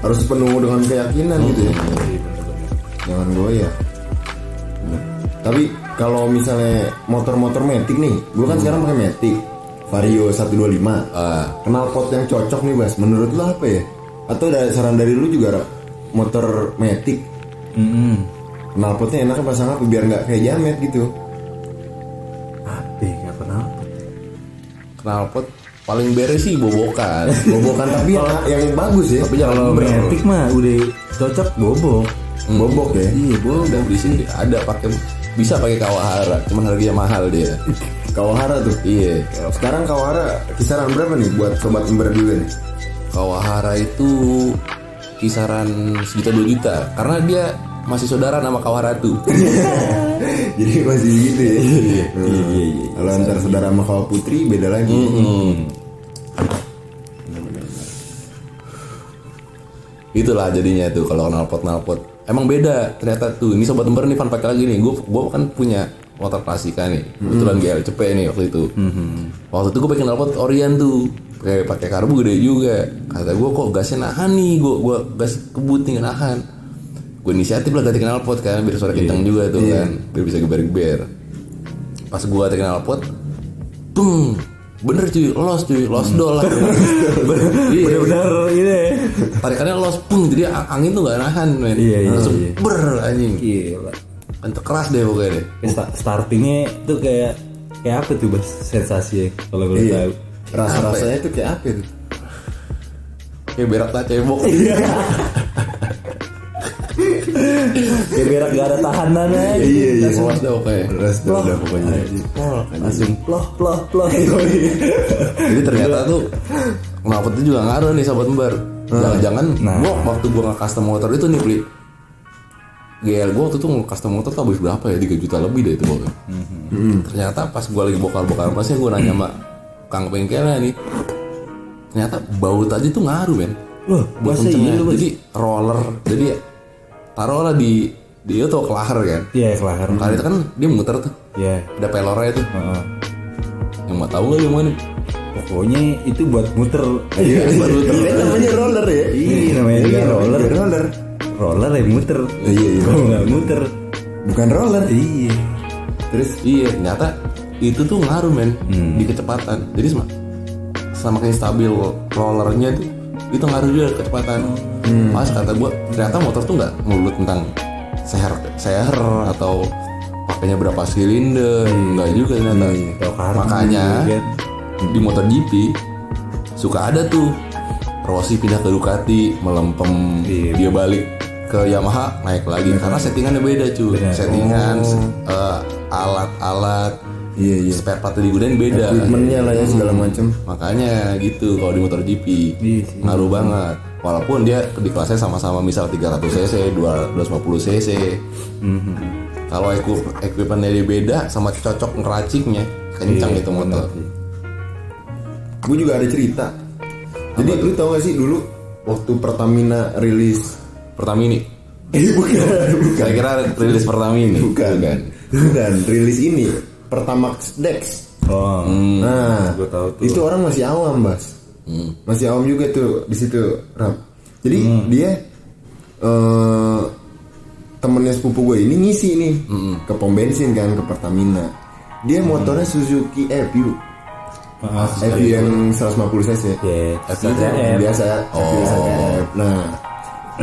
Speaker 2: Harus penuh dengan keyakinan gitu
Speaker 3: Hmm.
Speaker 2: ya. Jangan goyah. Nah, Tapi kalau misalnya motor-motor metik nih, gue
Speaker 3: Hmm.
Speaker 2: kan sekarang pakai metik Vario 125.
Speaker 1: Ah.
Speaker 2: Kenal pot yang cocok nih Bas, menurut lo apa ya? Atau ada saran dari lu juga Rob? motor metik
Speaker 3: Mm-mm.
Speaker 2: Kenal potnya enaknya pasang apa biar nggak kayak jamet gitu
Speaker 3: Apa? Gak pernah.
Speaker 1: knalpot paling beres sih bobokan
Speaker 2: [LAUGHS] Bobokan tapi yang, yang bagus ya
Speaker 1: tapi jangan
Speaker 3: Kalau
Speaker 1: ber
Speaker 3: metik mah udah cocok bobok.
Speaker 1: Hmm.
Speaker 2: Bobok ya
Speaker 3: Iya, bobok.
Speaker 1: udah di sini ada pakai bisa pakai kawahara cuman harganya mahal dia
Speaker 2: [LAUGHS] Kawahara tuh
Speaker 1: iya
Speaker 2: Sekarang Kawahara kisaran berapa nih buat sobat ember dulu nih?
Speaker 1: Kawahara itu kisaran sejuta dua juta karena dia masih saudara sama Kawaratu.
Speaker 2: [LAUGHS] Jadi masih gitu
Speaker 3: Iya,
Speaker 2: ya. Hmm. Kalau antar saudara sama kawal putri beda lagi.
Speaker 3: Hmm.
Speaker 1: Itulah jadinya tuh kalau nalpot nalpot. Emang beda ternyata tuh. Ini sobat ember nih fun fact lagi nih. Gue gue kan punya motor klasika nih. Kebetulan GLCP nih waktu itu. Waktu itu gue pakai nalpot Orion tuh. Pakai pakai karbu gede juga. Kata gue kok gasnya nahan nih. Gue gue gas kebut nih nahan. Gue inisiatif lah ganti knalpot kan biar suara kencang juga tuh kan. Biar bisa geber-geber. Pas gue ganti knalpot, Tung. Bener cuy, los cuy, los dol lah. Iya.
Speaker 3: Bener-bener ini ya.
Speaker 1: Tarikannya los pung, jadi a- angin tuh gak nahan men.
Speaker 3: Iya, iya,
Speaker 1: Langsung
Speaker 3: iya.
Speaker 1: ber anjing.
Speaker 3: Gila.
Speaker 1: Entek keras deh pokoknya deh.
Speaker 3: Sta- startingnya tuh kayak kayak apa tuh bas sensasinya kalau boleh
Speaker 2: Iya.
Speaker 3: tahu.
Speaker 2: Rasa-rasanya tuh kayak apa tuh?
Speaker 1: Kayak berak tak cebok.
Speaker 3: Iya, Kayak berak gak ada tahanannya.
Speaker 2: Iya, iya.
Speaker 1: Langsung los deh pokoknya.
Speaker 2: Rasa
Speaker 3: Loh.
Speaker 2: udah pokoknya.
Speaker 3: Langsung ploh ploh ploh.
Speaker 1: Jadi ternyata tuh knalpot itu juga ngaruh nih sahabat embar. Jangan-jangan
Speaker 3: Nah.
Speaker 1: gua waktu gua nge custom motor itu nih beli GL gua waktu itu nge custom motor tuh habis berapa ya? 3 juta lebih deh itu pokoknya.
Speaker 3: Mm-hmm.
Speaker 1: Ternyata pas gua lagi bokar-bokar pasnya gua nanya sama Kang Pengkelnya nih. Ternyata baut aja tuh ngaruh men.
Speaker 3: Loh,
Speaker 1: Buat
Speaker 3: masa iya
Speaker 1: kencengnya.
Speaker 3: lu, Bas?
Speaker 1: Jadi roller. Jadi taruhlah di di itu kelahar kan.
Speaker 3: Iya, kelahar.
Speaker 1: Kelahar itu kan dia muter tuh.
Speaker 3: Iya.
Speaker 1: Ada pelornya tuh.
Speaker 3: Heeh.
Speaker 1: Yang mau tahu gak yang mana?
Speaker 3: Pokoknya itu buat muter.
Speaker 2: Iya,
Speaker 1: baru
Speaker 2: iya. Ini namanya roller ya.
Speaker 3: Iya, namanya juga
Speaker 2: namanya
Speaker 3: roller.
Speaker 2: juga roller.
Speaker 3: Roller ya muter.
Speaker 2: Iya, iya.
Speaker 3: Kalau nggak muter.
Speaker 2: Bukan roller.
Speaker 3: Iya.
Speaker 2: Terus
Speaker 1: Iya, ternyata itu tuh ngaruh men
Speaker 3: Hmm.
Speaker 1: di kecepatan. Jadi sama semakin stabil rollernya tuh itu ngaruh juga ke kecepatan.
Speaker 3: Hmm.
Speaker 1: Mas kata gua ternyata motor tuh nggak melulu tentang seher seher atau pakainya berapa silinder,
Speaker 3: Hmm.
Speaker 1: nggak juga ternyata.
Speaker 3: Atau karbu
Speaker 1: Makanya
Speaker 3: juga.
Speaker 1: Iya. di motor GP suka ada tuh Rossi pindah ke Ducati melempem
Speaker 3: Iya.
Speaker 1: dia balik ke Yamaha naik lagi karena settingannya beda cuy
Speaker 3: Benar. Oh.
Speaker 1: settingan eh, alat-alat
Speaker 2: Iya, iya.
Speaker 1: spare part yang digunain beda
Speaker 2: equipmentnya lah ya segala macam.
Speaker 1: makanya gitu kalau di motor GP
Speaker 3: Iya sih.
Speaker 1: ngaruh banget walaupun dia di kelasnya sama-sama misal 300 cc 250 cc
Speaker 3: Mhm.
Speaker 1: kalau equip- equipmentnya dia beda sama cocok ngeraciknya kencang
Speaker 3: Iya,
Speaker 1: itu motor
Speaker 2: Gue juga ada cerita. Jadi lu tau gak sih dulu waktu Pertamina rilis
Speaker 1: Pertamini
Speaker 2: Eh bukan, bukan,
Speaker 1: saya kira rilis Pertamini
Speaker 2: bukan, bukan, bukan. rilis ini Pertamax Dex.
Speaker 3: Oh.
Speaker 2: Nah,
Speaker 3: Gua tahu tuh. Hmm.
Speaker 2: itu orang masih awam, Bas. Masih awam juga tuh di situ, Ram. Jadi dia eh temennya sepupu gue ini ngisi nih
Speaker 3: Hmm.
Speaker 2: ke pom bensin kan ke Pertamina. Dia motornya Suzuki FU.
Speaker 3: Maaf.
Speaker 2: FU yang 150 cc.
Speaker 3: Eh. Iya.
Speaker 2: Yang biasa
Speaker 1: Oh.
Speaker 2: biasa kayak- nah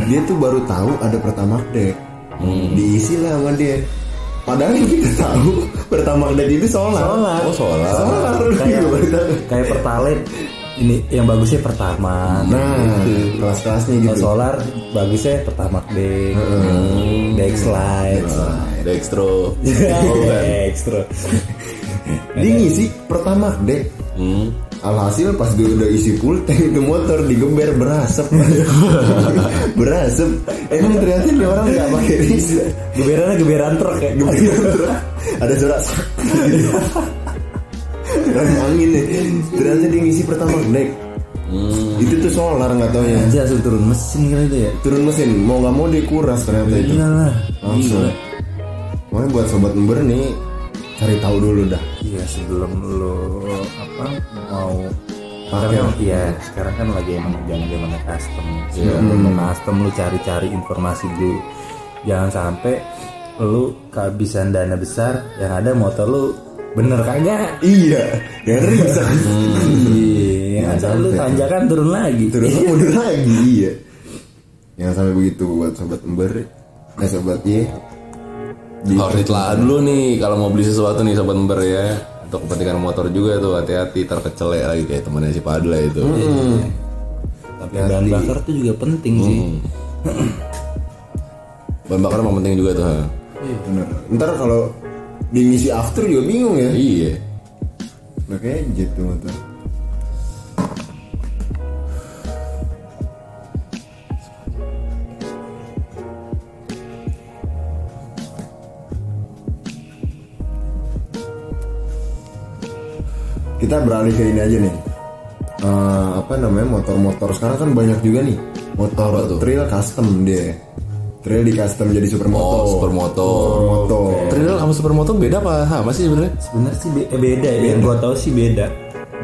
Speaker 2: dia tuh baru tahu ada pertamax deck
Speaker 1: Hmm.
Speaker 2: diisi lah sama dia padahal yang kita tahu [LAUGHS] pertamax deck itu solar
Speaker 3: Solar.
Speaker 1: oh gitu. solar
Speaker 2: solar
Speaker 3: Kayak-
Speaker 2: Baru tahu.
Speaker 3: Kayak pertalite ini yang bagusnya pertama.
Speaker 2: [LAUGHS] nah kelas-kelasnya
Speaker 3: Kalau
Speaker 2: gitu
Speaker 3: solar bagusnya pertama deh deck slide
Speaker 1: Nah.
Speaker 3: [LAUGHS]
Speaker 1: ya, Dextro
Speaker 3: extra
Speaker 2: dia ngisi pertamax deck
Speaker 1: hmm.
Speaker 2: Alhasil pas dia udah isi full tank ke motor digeber berasap [LAUGHS] Berasap Emang ternyata ini orang gak pakai
Speaker 1: [LAUGHS]
Speaker 2: riset
Speaker 3: geberannya geberan truk ya
Speaker 2: [LAUGHS] ada suara sak. Rem angin ya ternyata dia ngisi pertama deck
Speaker 3: Hmm.
Speaker 2: itu tuh solar nggak tau ya
Speaker 3: Anjir, langsung turun mesin kali itu ya
Speaker 2: turun mesin mau nggak mau dikuras ternyata itu
Speaker 3: iya lah
Speaker 2: langsung
Speaker 3: Gila.
Speaker 2: makanya buat sobat ember nih cari tahu dulu dah
Speaker 3: iya sebelum lo apa mau
Speaker 2: Pakai.
Speaker 3: Karena iya sekarang kan lagi emang zaman zaman custom Sebelum lu mau custom lu cari-cari informasi dulu jangan sampai lu kehabisan dana besar yang ada motor lu bener kagak
Speaker 2: iya ngeri bisa [LAUGHS]
Speaker 3: Iya,
Speaker 2: Jangan
Speaker 3: ada lu
Speaker 2: sampai.
Speaker 3: tanjakan turun lagi.
Speaker 2: turun mundur lagi iya jangan sampai begitu buat sobat ember eh sobat Y
Speaker 1: Harus ditelaah dulu nih kalau mau beli sesuatu nih sobat member ya untuk kepentingan motor juga tuh hati-hati terkecelek lagi kayak temannya si Padla itu.
Speaker 3: Tapi Hmm. bahan bakar tuh juga penting sih.
Speaker 1: Bahan bakar emang penting juga tuh. ha.
Speaker 2: bener ntar kalau dia ngisi after juga bingung ya
Speaker 1: Iya.
Speaker 2: Udah kejet tuh motor kita beralih ke ini aja nih Eh, apa namanya motor-motor sekarang kan banyak juga nih motor trail custom dia trail di custom jadi supermoto
Speaker 1: Oh, supermoto.
Speaker 2: supermoto
Speaker 1: Trail sama supermoto beda apa? Hama sih sebenarnya.
Speaker 3: Sebenarnya sih be- eh, beda ya. Yang gua tahu sih beda.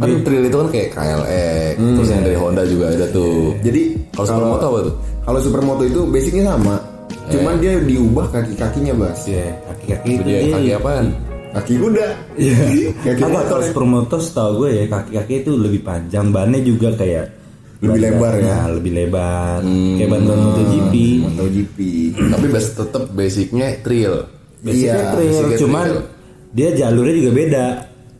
Speaker 1: Kan trail itu kan kayak KLX, terus yang dari Honda juga ada tuh.
Speaker 2: jadi
Speaker 1: Kalau supermoto apa tuh?
Speaker 2: kalau supermoto itu basicnya
Speaker 3: Eh.
Speaker 2: sama cuman dia diubah kaki-kakinya bas
Speaker 3: Iya, kaki-kaki itu
Speaker 1: Dia
Speaker 3: dia.
Speaker 1: kaki apaan?
Speaker 2: kaki kuda
Speaker 3: Iya.
Speaker 2: [LAUGHS]
Speaker 3: [LAUGHS]
Speaker 2: Kaki
Speaker 3: Agak
Speaker 2: motor
Speaker 3: kalau supermotor setahu gue ya kaki-kaki itu lebih panjang, bannya juga kayak
Speaker 2: Lebih
Speaker 3: ban-
Speaker 2: lebar ya? Hmm.
Speaker 3: Nah, lebih lebar. Kayak ban ban MotoGP.
Speaker 2: MotoGP
Speaker 1: Tapi bas tetap basicnya trail.
Speaker 3: Basicnya
Speaker 2: Iya,
Speaker 3: trail,
Speaker 1: basicnya
Speaker 3: cuman
Speaker 1: trail.
Speaker 3: dia jalurnya juga beda.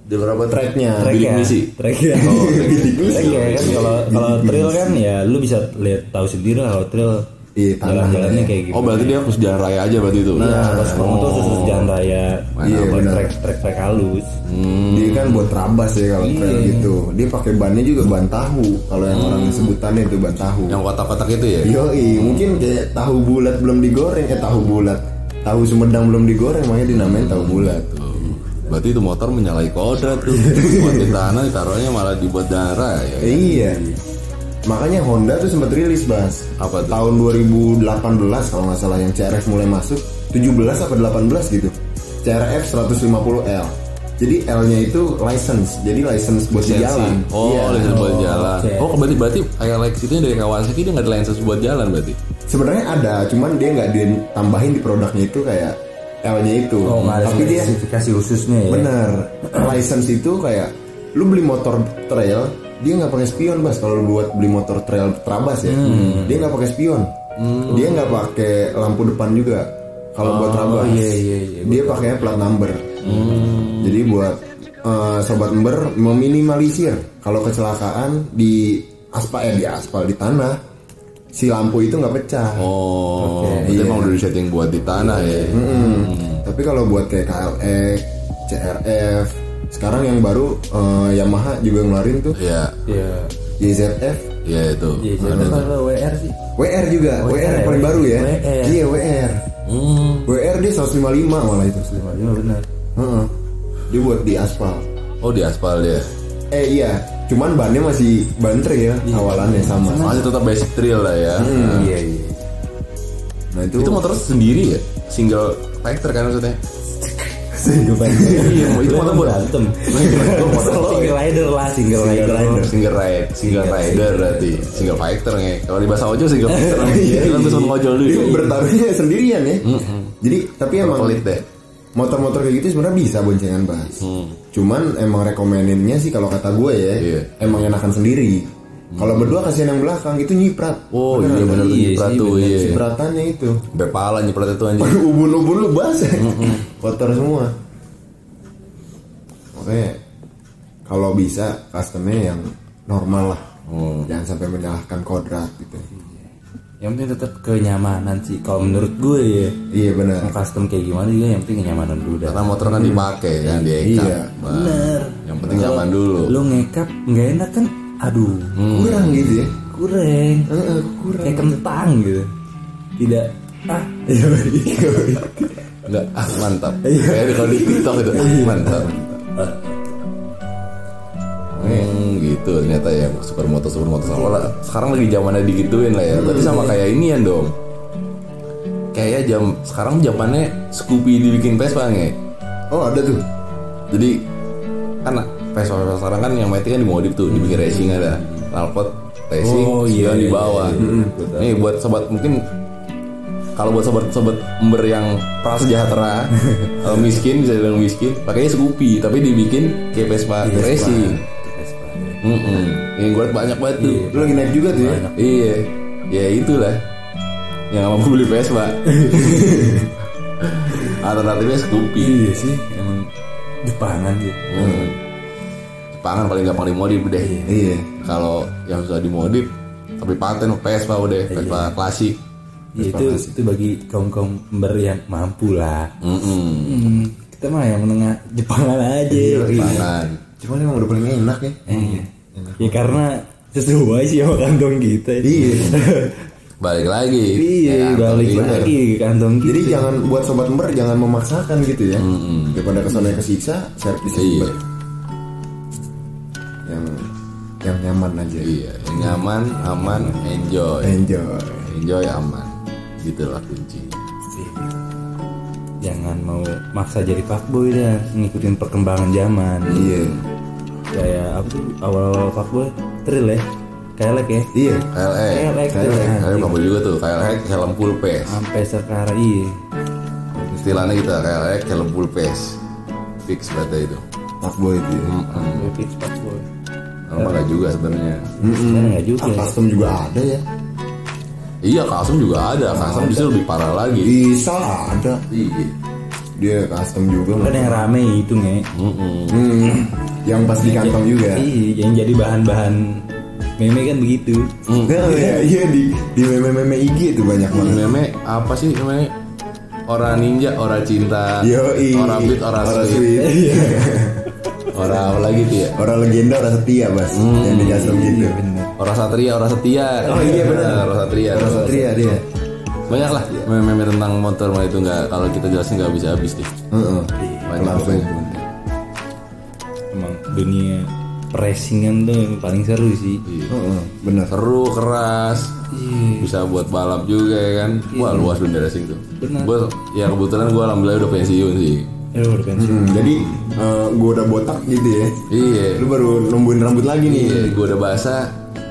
Speaker 1: Jalur apa
Speaker 2: tracknya
Speaker 3: Track
Speaker 1: bidik
Speaker 3: ya,
Speaker 1: misi.
Speaker 3: track
Speaker 2: [LAUGHS]
Speaker 3: ya.
Speaker 2: bidik misi.
Speaker 3: Track ya kan kalau kalau trail kan ya lu bisa lihat tahu sendiri lah kalau trail
Speaker 2: Iya, tanah
Speaker 3: jalan-jalannya kayak gitu.
Speaker 1: Oh berarti dia harus jalan raya aja berarti itu. Iya.
Speaker 3: Nah, kalau supermotor khusus jalan raya,
Speaker 2: Oh. Iya,
Speaker 3: buat
Speaker 2: benar.
Speaker 3: trek trek trek halus. Hmm.
Speaker 2: Dia kan buat rabas ya kalau
Speaker 3: Iya,
Speaker 2: trail gitu. Dia pakai bannya juga ban tahu. Kalau yang orang
Speaker 3: Hmm.
Speaker 2: sebutannya itu ban tahu.
Speaker 1: Yang kotak-kotak itu ya.
Speaker 2: Yoi, mungkin kayak tahu bulat belum digoreng, eh tahu bulat. Tahu Sumedang belum digoreng, makanya dinamain tahu bulat.
Speaker 1: Berarti itu motor menyalahi kodrat tuh. Buat di tanah ditaruhnya malah dibuat darah ya.
Speaker 2: Eh, iya. Makanya Honda tuh sempat rilis, Bas.
Speaker 1: Apa tuh?
Speaker 2: Tahun 2018 kalau nggak salah yang CRF mulai masuk, 17 apa 18 gitu. CRF 150L. Jadi L-nya itu license. Jadi license buat di jalan.
Speaker 1: Oh,
Speaker 2: Iya.
Speaker 1: license buat jalan.
Speaker 3: oke.
Speaker 1: Oh, berarti berarti kayak Lex itu dari Kawasaki dia nggak ada license buat jalan berarti.
Speaker 2: Sebenarnya ada, cuman dia nggak ditambahin di produknya itu kayak L-nya itu.
Speaker 3: Oh, nggak ada
Speaker 2: Tapi dia
Speaker 3: spesifikasi khususnya ya.
Speaker 2: bener license itu kayak lu beli motor trail, dia nggak pakai spion bas kalau lu buat beli motor trail terabas ya.
Speaker 3: Hmm.
Speaker 2: Dia nggak pakai spion. Dia nggak pakai lampu depan juga. Kalau buat terabas,
Speaker 3: iya, iya, iya, Hmm.
Speaker 2: dia pakainya plat number. Jadi buat eh, sobat ember meminimalisir kalau kecelakaan di aspal eh, di aspal di tanah si lampu itu nggak pecah.
Speaker 1: Oh, berarti emang udah di setting buat di tanah ya.
Speaker 2: Hmm. Tapi kalau buat kayak E, KLX, CRF, sekarang yang baru eh, Yamaha juga ngeluarin tuh
Speaker 1: Iya,
Speaker 3: Iya.
Speaker 2: YZF,
Speaker 1: iya itu.
Speaker 3: Iya, jadi kalau WR sih.
Speaker 2: WR juga, WR,
Speaker 3: WR,
Speaker 2: yang paling baru ya.
Speaker 3: WR.
Speaker 2: Iya WR.
Speaker 1: Hmm.
Speaker 2: WR dia 155 malah itu.
Speaker 3: Lima lima Iya, benar.
Speaker 2: Heeh. Dia buat di aspal.
Speaker 1: Oh, di aspal dia.
Speaker 2: Eh iya, cuman bannya masih banter ya awalannya sama.
Speaker 1: Masih tetap basic trail lah ya.
Speaker 3: Iya, iya.
Speaker 2: Nah itu,
Speaker 1: Itu motor sendiri ya? Single factor kan maksudnya?
Speaker 3: Single
Speaker 1: Iya, itu
Speaker 3: rider. Itu
Speaker 1: motor
Speaker 3: emang
Speaker 1: buat- Iya,
Speaker 3: berantem.
Speaker 1: Itu motor
Speaker 3: Single rider lah, ya. single rider.
Speaker 1: Oh, Single ride, single rider berarti single fighter nge. Kalau di bahasa ojol [LAUGHS] single fighter namanya. Iya, kan bisa ngojol
Speaker 2: dia
Speaker 1: dulu.
Speaker 2: bertarungnya sendirian ya. Jadi tapi emang
Speaker 1: Pelit deh.
Speaker 2: motor-motor kayak gitu sebenarnya bisa boncengan bas cuman emang rekomeninnya sih kalau kata gue ya
Speaker 1: Hmm. Iya.
Speaker 2: emang enakan sendiri kalau berdua kasihan yang belakang itu nyiprat
Speaker 1: Oh, iya benar tuh
Speaker 3: Iya,
Speaker 1: nyiprat
Speaker 3: sih,
Speaker 1: tuh.
Speaker 3: bener.
Speaker 1: Iya.
Speaker 2: nyipratannya itu [LAUGHS]
Speaker 1: Sampai pala nyiprat itu anjing.
Speaker 2: ubun-ubun lu bas [LAUGHS] kotor semua oke kalau bisa customnya yang normal lah
Speaker 1: Oh.
Speaker 2: jangan sampai menyalahkan kodrat gitu
Speaker 3: Yang penting tetap kenyamanan sih. Kalau menurut gue ya,
Speaker 2: iya benar
Speaker 3: mau custom kayak gimana juga yang penting kenyamanan dulu dah.
Speaker 1: Karena motor kan dipakai kan di ekap.
Speaker 2: Iya.
Speaker 1: Bang. Yang penting nyaman dulu.
Speaker 3: Lu ngekap nggak enak kan? Aduh,
Speaker 1: Hmm.
Speaker 2: kurang gitu ya
Speaker 3: Eh, kurang.
Speaker 2: Heeh, kurang
Speaker 3: Kayak kentang gitu. Tidak ah.
Speaker 1: Enggak, ah mantap. [LAUGHS] Kayak kalau di TikTok itu ah mantap. Ah. Hmm, gitu ternyata ya supermoto supermoto sama lah. Sekarang lagi zamannya digituin lah ya. Tapi sama kayak inian dong. Kayak jam sekarang zamannya Scoopy dibikin Vespa nge.
Speaker 2: oh ada tuh
Speaker 1: Jadi kan Vespa Vespa sekarang kan yang mati kan dimodif tuh, dibikin racing ada. Nalpot racing
Speaker 3: Oh,
Speaker 1: oh,
Speaker 3: iya,
Speaker 1: di
Speaker 3: iya,
Speaker 1: bawah. Gitu.
Speaker 3: iya, iya. Gua
Speaker 1: Nih buat sobat mungkin kalau buat sobat-sobat ember yang
Speaker 3: [LAUGHS]
Speaker 1: prasejahtera atau miskin bisa bilang miskin pakainya Scoopy tapi dibikin kayak Vespa
Speaker 3: Iya,
Speaker 1: racing Mm-mm. Yang gue liat banyak banget
Speaker 3: Iya,
Speaker 1: tuh.
Speaker 2: lu lagi naik juga tuh ya
Speaker 1: Iya. Ya itulah. Yang nggak mampu beli
Speaker 3: [LAUGHS]
Speaker 1: Vespa. Alternatifnya Scoopy.
Speaker 3: Iya sih, emang Jepangan sih.
Speaker 1: Hmm. Jepangan paling gampang dimodif deh.
Speaker 2: iya
Speaker 1: Kalau yang susah dimodif, tapi paten Vespa udah,
Speaker 3: Iya.
Speaker 1: Vespa klasik.
Speaker 3: Ya, itu itu bagi kaum kaum ember yang mampu lah.
Speaker 1: Mm-mm.
Speaker 3: Hmm, kita mah yang menengah Jepangan aja.
Speaker 1: Jepangan.
Speaker 2: Cuman emang udah paling enak ya.
Speaker 3: Eh, Ya karena sesuai sih sama kantong kita. [LAUGHS]
Speaker 2: Iya.
Speaker 1: Balik lagi. Ya,
Speaker 3: Iya, balik
Speaker 1: bener.
Speaker 3: lagi ke kantong kita.
Speaker 2: Jadi jangan buat sobat ember jangan Iya. memaksakan gitu ya. Daripada kesana kesiksa, servis
Speaker 1: Iya.
Speaker 2: ember. yang yang nyaman aja
Speaker 1: Iya, yang nyaman, aman, enjoy.
Speaker 2: enjoy
Speaker 1: Enjoy aman. Gitulah kuncinya.
Speaker 3: jangan mau maksa jadi fuckboy dah ngikutin perkembangan zaman
Speaker 2: iya
Speaker 3: kayak apa tuh awal-awal fuckboy thrill ya kayak like ya
Speaker 2: iya
Speaker 1: KLE.
Speaker 3: kayak like thrill ya.
Speaker 1: KLE kabel juga tuh. KLE helm full face.
Speaker 3: sampai sekarang iya
Speaker 1: Istilahnya gitu, kita KLE helm full face. Fix banget itu.
Speaker 2: pak boy itu ya.
Speaker 3: gue fix fuckboy Iya.
Speaker 1: Kalau nggak juga sebenarnya.
Speaker 3: sekarang nggak juga
Speaker 2: Ah,
Speaker 3: ya.
Speaker 2: custom juga ada ya
Speaker 1: Iya, Kasem juga ada. Kasem justru lebih parah
Speaker 3: Iya,
Speaker 1: lagi.
Speaker 2: bisa ada
Speaker 1: Iya.
Speaker 2: dia custom juga
Speaker 3: kan yang rame itu nge
Speaker 2: Hmm, yang pas di kantong juga
Speaker 3: iya yang jadi bahan-bahan meme kan begitu
Speaker 2: Nah, iya, iya di di meme meme IG itu banyak banget
Speaker 1: Meme apa sih namanya? Ora ninja, ora cinta,
Speaker 2: Yoi.
Speaker 1: ora beat, ora sweet,
Speaker 2: Iya. sweet. Iya.
Speaker 1: ora apa lagi tuh ya?
Speaker 2: Orang legenda, orang setia, Bas. yang di custom gitu.
Speaker 1: Ora satria, ora setia.
Speaker 2: Oh, iya, benar.
Speaker 1: Ora satria.
Speaker 2: Orang satria dia.
Speaker 1: Banyak lah meme-meme tentang motor mah itu nggak kalau kita jelasin nggak bisa habis deh.
Speaker 2: Heeh.
Speaker 1: Banyak
Speaker 2: Langsung.
Speaker 3: emang dunia racingan tuh yang paling seru sih
Speaker 2: Heeh, benar.
Speaker 1: Seru, keras.
Speaker 3: Iya.
Speaker 1: Bisa buat balap juga ya kan. Wah,
Speaker 2: Iya.
Speaker 1: luas dunia racing tuh.
Speaker 3: Benar.
Speaker 1: Gua ya kebetulan gua alhamdulillah udah pensiun sih.
Speaker 3: Eh, udah pensiun.
Speaker 2: Hmm, jadi eh, gua udah botak gitu ya.
Speaker 1: Iya.
Speaker 2: Lu baru numbuhin rambut lagi nih.
Speaker 1: Iya, gue udah basah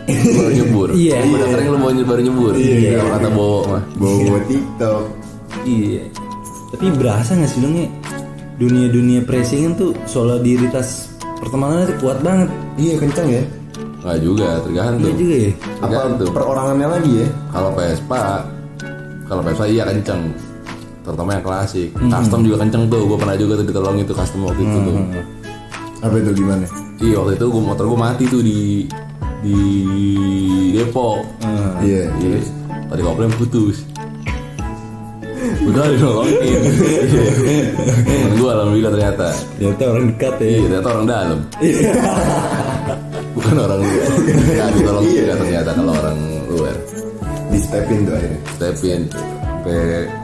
Speaker 1: lu baru nyebur.
Speaker 3: Iya.
Speaker 1: Gua udah kering lu mau nyebur baru nyebur.
Speaker 2: Iya.
Speaker 1: Kalau kata bowo mah.
Speaker 2: Bawa TikTok.
Speaker 3: Iya. Tapi berasa nggak sih lo Nge? dunia-dunia pressingan tuh solidaritas pertemanan tuh kuat banget.
Speaker 2: Iya, kenceng ya.
Speaker 1: Enggak juga, tergantung.
Speaker 3: Iya juga ya.
Speaker 2: Apa
Speaker 1: Tergantung.
Speaker 2: perorangannya lagi ya?
Speaker 1: Kalau Vespa kalau Vespa iya kenceng. Terutama yang klasik. Custom juga kenceng tuh. Gue pernah juga tuh ditolongin tuh custom waktu itu tuh.
Speaker 2: Apa itu gimana?
Speaker 1: Iya, waktu itu gua motor gue mati tuh di di Depok.
Speaker 2: Iya.
Speaker 1: Iya. Tadi komplain putus. Udah ditolongin. Iya. Temen gue alhamdulillah ternyata.
Speaker 3: Ternyata orang dekat ya.
Speaker 1: Iya, ternyata orang dalam.
Speaker 2: Iya.
Speaker 1: [LAUGHS] Bukan orang luar. Ya,
Speaker 2: Iya.
Speaker 1: ditolong juga ternyata kalau orang luar.
Speaker 2: Di stepin tuh akhirnya.
Speaker 1: Stepin sampai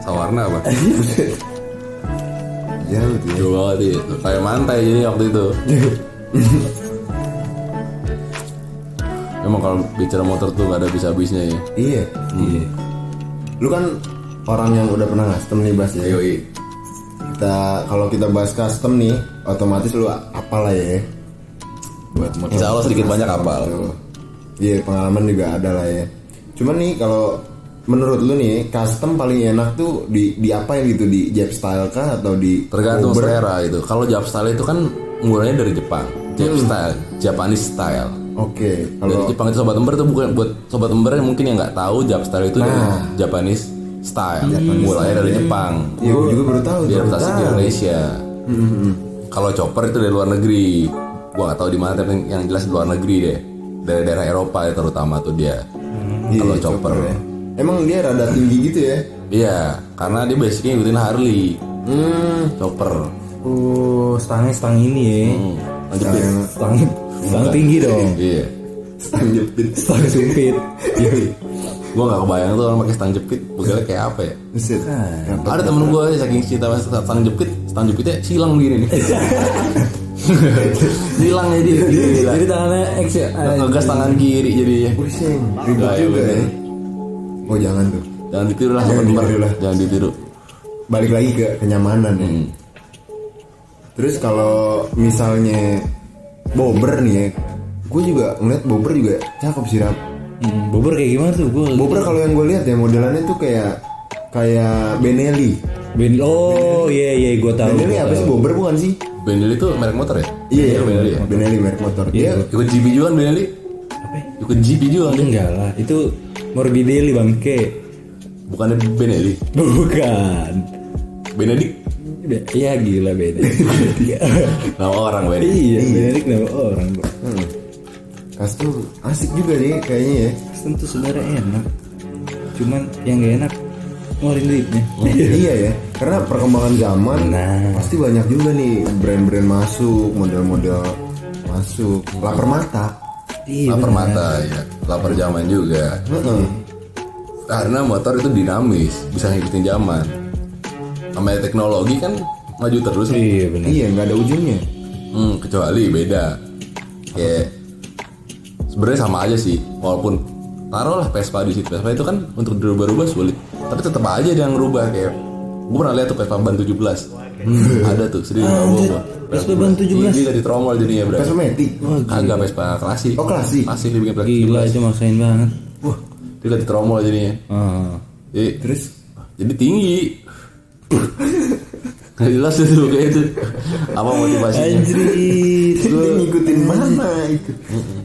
Speaker 1: sawarna
Speaker 2: [LAUGHS]
Speaker 1: apa?
Speaker 2: Iya, betul.
Speaker 1: Jauh banget iya. Kayak mantai jadi waktu itu. Emang kalau bicara motor tuh gak ada bisa-habisnya ya.
Speaker 2: Iya. Iya. Lu kan orang yang udah pernah custom nih Bas ya.
Speaker 1: Yoi.
Speaker 2: Kita kalau kita bahas custom nih, otomatis lu apal lah ya. Buat motor.
Speaker 1: Insya Allah sedikit banyak kapal.
Speaker 2: Tuh. Iya, pengalaman juga ada lah ya. Cuman nih kalau menurut lu nih custom paling enak tuh di di apa gitu di jab style kah atau di
Speaker 1: Tergantung
Speaker 2: Uber?
Speaker 1: selera itu. Kalau Jap style itu kan mulainya dari Jepang. Jap
Speaker 2: Hmm.
Speaker 1: style, Japanese style.
Speaker 2: Oke,
Speaker 1: Dari
Speaker 2: kalau
Speaker 1: Jepang itu sobat ember tuh bukan buat sobat ember yang mungkin yang nggak tahu Jap style itu dari
Speaker 2: Nah.
Speaker 1: Japanese style. Mulainya dari Jepang.
Speaker 2: Hmm. ya gua juga baru tahu. baru
Speaker 1: Diadaptasi di
Speaker 2: tahu.
Speaker 1: Indonesia.
Speaker 2: Hmm.
Speaker 1: Kalau chopper itu dari luar negeri. Gua nggak tahu di mana tapi yang jelas di luar negeri deh. Dari daerah Eropa ya terutama tuh dia.
Speaker 2: Iya,
Speaker 1: Kalau chopper.
Speaker 2: ya. Emang dia rada tinggi gitu
Speaker 1: [LAUGHS]
Speaker 2: ya?
Speaker 1: Iya, karena dia basicnya ngikutin Harley.
Speaker 2: Hmm.
Speaker 1: Chopper.
Speaker 3: Oh, stangnya stang ini ya.
Speaker 1: Lanjut.
Speaker 2: Yang-
Speaker 3: Stang stang tinggi dong. Iya
Speaker 1: Iya.
Speaker 2: Stang jepit.
Speaker 3: Stang sempit.
Speaker 1: Gua nggak kebayang tuh orang pakai stang jepit, bukannya kayak apa ya?
Speaker 2: Buset.
Speaker 3: kan?
Speaker 1: Ada temen gue saking cinta sama stang jepit, stang jepitnya silang begini nih.
Speaker 2: [LAUGHS]
Speaker 1: silang jadi gila.
Speaker 3: Jadi tangannya X ya.
Speaker 1: ngegas tangan kiri jadinya.
Speaker 2: Pusing, ribet
Speaker 1: Nah, ya
Speaker 2: juga ya.
Speaker 1: bener.
Speaker 2: Oh jangan tuh.
Speaker 1: Jangan ditiru lah,
Speaker 2: Jangan
Speaker 1: jangan
Speaker 2: ditiru lah.
Speaker 1: Jangan ditiru.
Speaker 2: Balik lagi ke kenyamanan ya.
Speaker 1: Hmm.
Speaker 2: Terus kalau misalnya bober nih ya, gue juga ngeliat bober juga cakep sih rap.
Speaker 3: Hmm, Bobber kayak gimana tuh gue?
Speaker 2: Bober kalau yang gue lihat ya modelannya tuh kayak kayak Benelli.
Speaker 3: Ben oh iya iya gue tahu.
Speaker 2: Benelli
Speaker 3: gua
Speaker 2: apa sih
Speaker 3: tahu.
Speaker 2: bober bukan sih?
Speaker 1: Benelli itu merek motor ya?
Speaker 2: Iya,
Speaker 1: Benelli
Speaker 2: Benelli,
Speaker 1: ya.
Speaker 2: Benelli merek motor. Iya.
Speaker 1: Ikut GP juga kan Benelli?
Speaker 3: Apa? ya?
Speaker 1: Ikut GP juga kan?
Speaker 3: Enggak lah, itu Morbidelli bang Ke.
Speaker 1: Bukannya Benelli?
Speaker 3: Bukan.
Speaker 1: Benedik?
Speaker 3: Be- Iya gila beda.
Speaker 2: [LAUGHS]
Speaker 1: Nama orang Benelli.
Speaker 3: iya, Benedict nama orang bro.
Speaker 2: Hmm. Custom asik juga nih kayaknya ya.
Speaker 3: Custom tuh sebenarnya enak. Cuman yang gak enak ngeluarin duitnya.
Speaker 2: iya ya, karena perkembangan zaman
Speaker 3: Nah.
Speaker 2: pasti banyak juga nih brand-brand masuk, model-model masuk. Lapar mata.
Speaker 3: Iya.
Speaker 1: Lapar mata ya, lapar zaman juga.
Speaker 2: Heeh.
Speaker 1: Karena motor itu dinamis, bisa ngikutin zaman. Namanya teknologi kan maju terus nih.
Speaker 3: Iya benar.
Speaker 2: Iya, nggak ada ujungnya.
Speaker 1: Hmm, kecuali beda. Kayak sebenarnya sama aja sih walaupun taruhlah Vespa di situ Vespa itu kan untuk dirubah-rubah sulit tapi tetap aja ada yang rubah kayak gue pernah lihat tuh Vespa ban 17 ada tuh serius nggak bohong gua.
Speaker 3: Vespa ban 17.
Speaker 1: Ini dari tromol jadinya berarti
Speaker 2: Vespa Matic
Speaker 1: Kagak Vespa klasik.
Speaker 2: Oh, klasik.
Speaker 1: Klasik dibikin Vespa
Speaker 3: Gila itu maksain banget. Wah.
Speaker 1: Dia dari tromol jadinya.
Speaker 3: Ah.
Speaker 1: Jadi,
Speaker 3: Terus
Speaker 1: jadi tinggi. Nggak jelas itu kayak itu. Apa motivasinya?
Speaker 3: anjrit.
Speaker 2: Dia ngikutin mana itu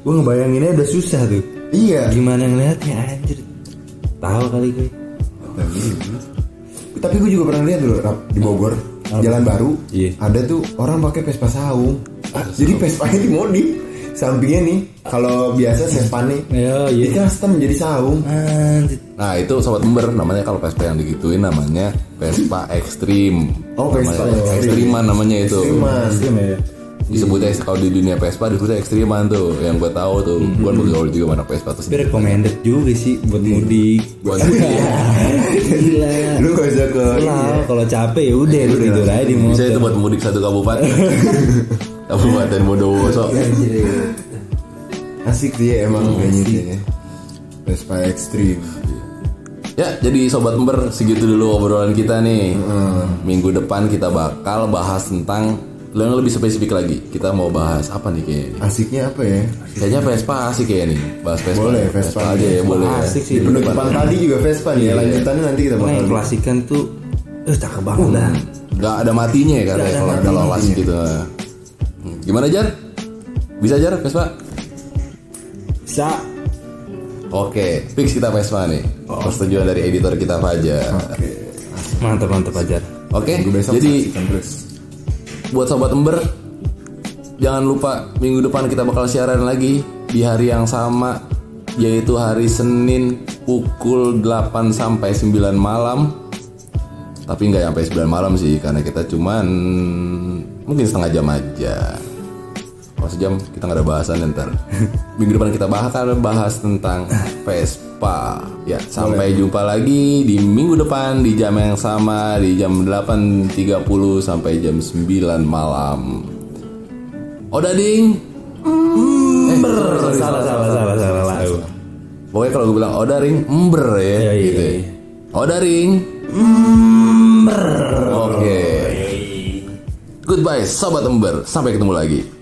Speaker 3: Gue ngebayanginnya udah susah tuh.
Speaker 2: iya
Speaker 3: Gimana ngeliatnya anjir. Tahu kali gue.
Speaker 2: Nah, gitu. tapi gue juga pernah lihat dulu Rap, di Bogor jalan baru
Speaker 3: Iya.
Speaker 2: ada tuh orang pakai Vespa saung Ah, jadi Vespanya dimodif sampingnya nih kalau biasa Vespa nih
Speaker 3: Ya,
Speaker 2: di
Speaker 3: iya.
Speaker 2: custom jadi saung
Speaker 3: Anjir.
Speaker 1: Nah itu sobat ember namanya kalau Vespa yang digituin namanya Vespa Ekstrim.
Speaker 2: Oh, Vespa
Speaker 1: Namanya-
Speaker 2: Ekstrim.
Speaker 1: Ekstriman namanya itu.
Speaker 2: Mas
Speaker 3: Asli ya.
Speaker 1: Disebutnya kalau di dunia Vespa disebutnya Ekstriman tuh. Yang gue tahu tuh.
Speaker 3: Hmm.
Speaker 1: Gue dulu gaul juga mana Vespa terus.
Speaker 3: Tapi recommended juga sih Iya. buat mudik.
Speaker 1: Gua ngerti.
Speaker 3: Gila.
Speaker 2: lu gak bisa ke
Speaker 3: Lah, kalau capek ya udah lu tidur aja di
Speaker 1: Bisa itu
Speaker 3: motor.
Speaker 1: buat mudik satu
Speaker 3: [LAUGHS]
Speaker 1: kabupaten. kabupaten Bondowoso.
Speaker 3: Iya,
Speaker 2: asik dia emang kayaknya sih ya. Vespa ekstrim
Speaker 1: Ya, jadi sobat ember segitu dulu obrolan kita nih. Minggu depan kita bakal bahas tentang yang lebih spesifik lagi. Kita mau bahas apa nih kayaknya?
Speaker 2: asiknya apa ya
Speaker 1: Kayaknya Vespa asik ya nih. Bahas Vespa.
Speaker 2: Boleh, Vespa
Speaker 1: aja ya,
Speaker 2: asik.
Speaker 1: boleh. ya.
Speaker 3: Asik sih.
Speaker 2: penutupan tadi juga Vespa
Speaker 3: Iya,
Speaker 2: nih ya lanjutannya nanti kita
Speaker 3: Karena
Speaker 2: bakal
Speaker 3: yang klasikan tuh eh cakep banget dah.
Speaker 1: Gak ada matinya ya katanya
Speaker 3: ada
Speaker 1: kalau kalau las gitu. Hmm, Gimana Jar? Bisa Jar Vespa?
Speaker 3: Bisa.
Speaker 1: Oke, fix kita Vespa nih. Persetujuan dari editor kita Fajar.
Speaker 2: oke
Speaker 3: Mantap mantap aja.
Speaker 1: Oke,
Speaker 2: minggu besok
Speaker 1: jadi
Speaker 2: saksikan terus
Speaker 1: buat sobat ember jangan lupa minggu depan kita bakal siaran lagi di hari yang sama yaitu hari Senin pukul 8 sampai 9 malam tapi nggak sampai 9 malam sih karena kita cuman mungkin setengah jam aja kalau sejam kita nggak ada bahasan ya ntar [LAUGHS] minggu depan kita bahas kan, bahas tentang Vespa ya sampai jumpa lagi di minggu depan di jam yang sama di jam 8.30 sampai jam 9 malam Oda ding ember
Speaker 3: Salah salah salah salah salah.
Speaker 1: pokoknya kalau gue bilang Oda ring ember ya
Speaker 3: Iya, iya,
Speaker 1: gitu ya.
Speaker 3: iya.
Speaker 1: Oda ring
Speaker 3: Iya,
Speaker 1: ember oke goodbye sobat ember sampai ketemu lagi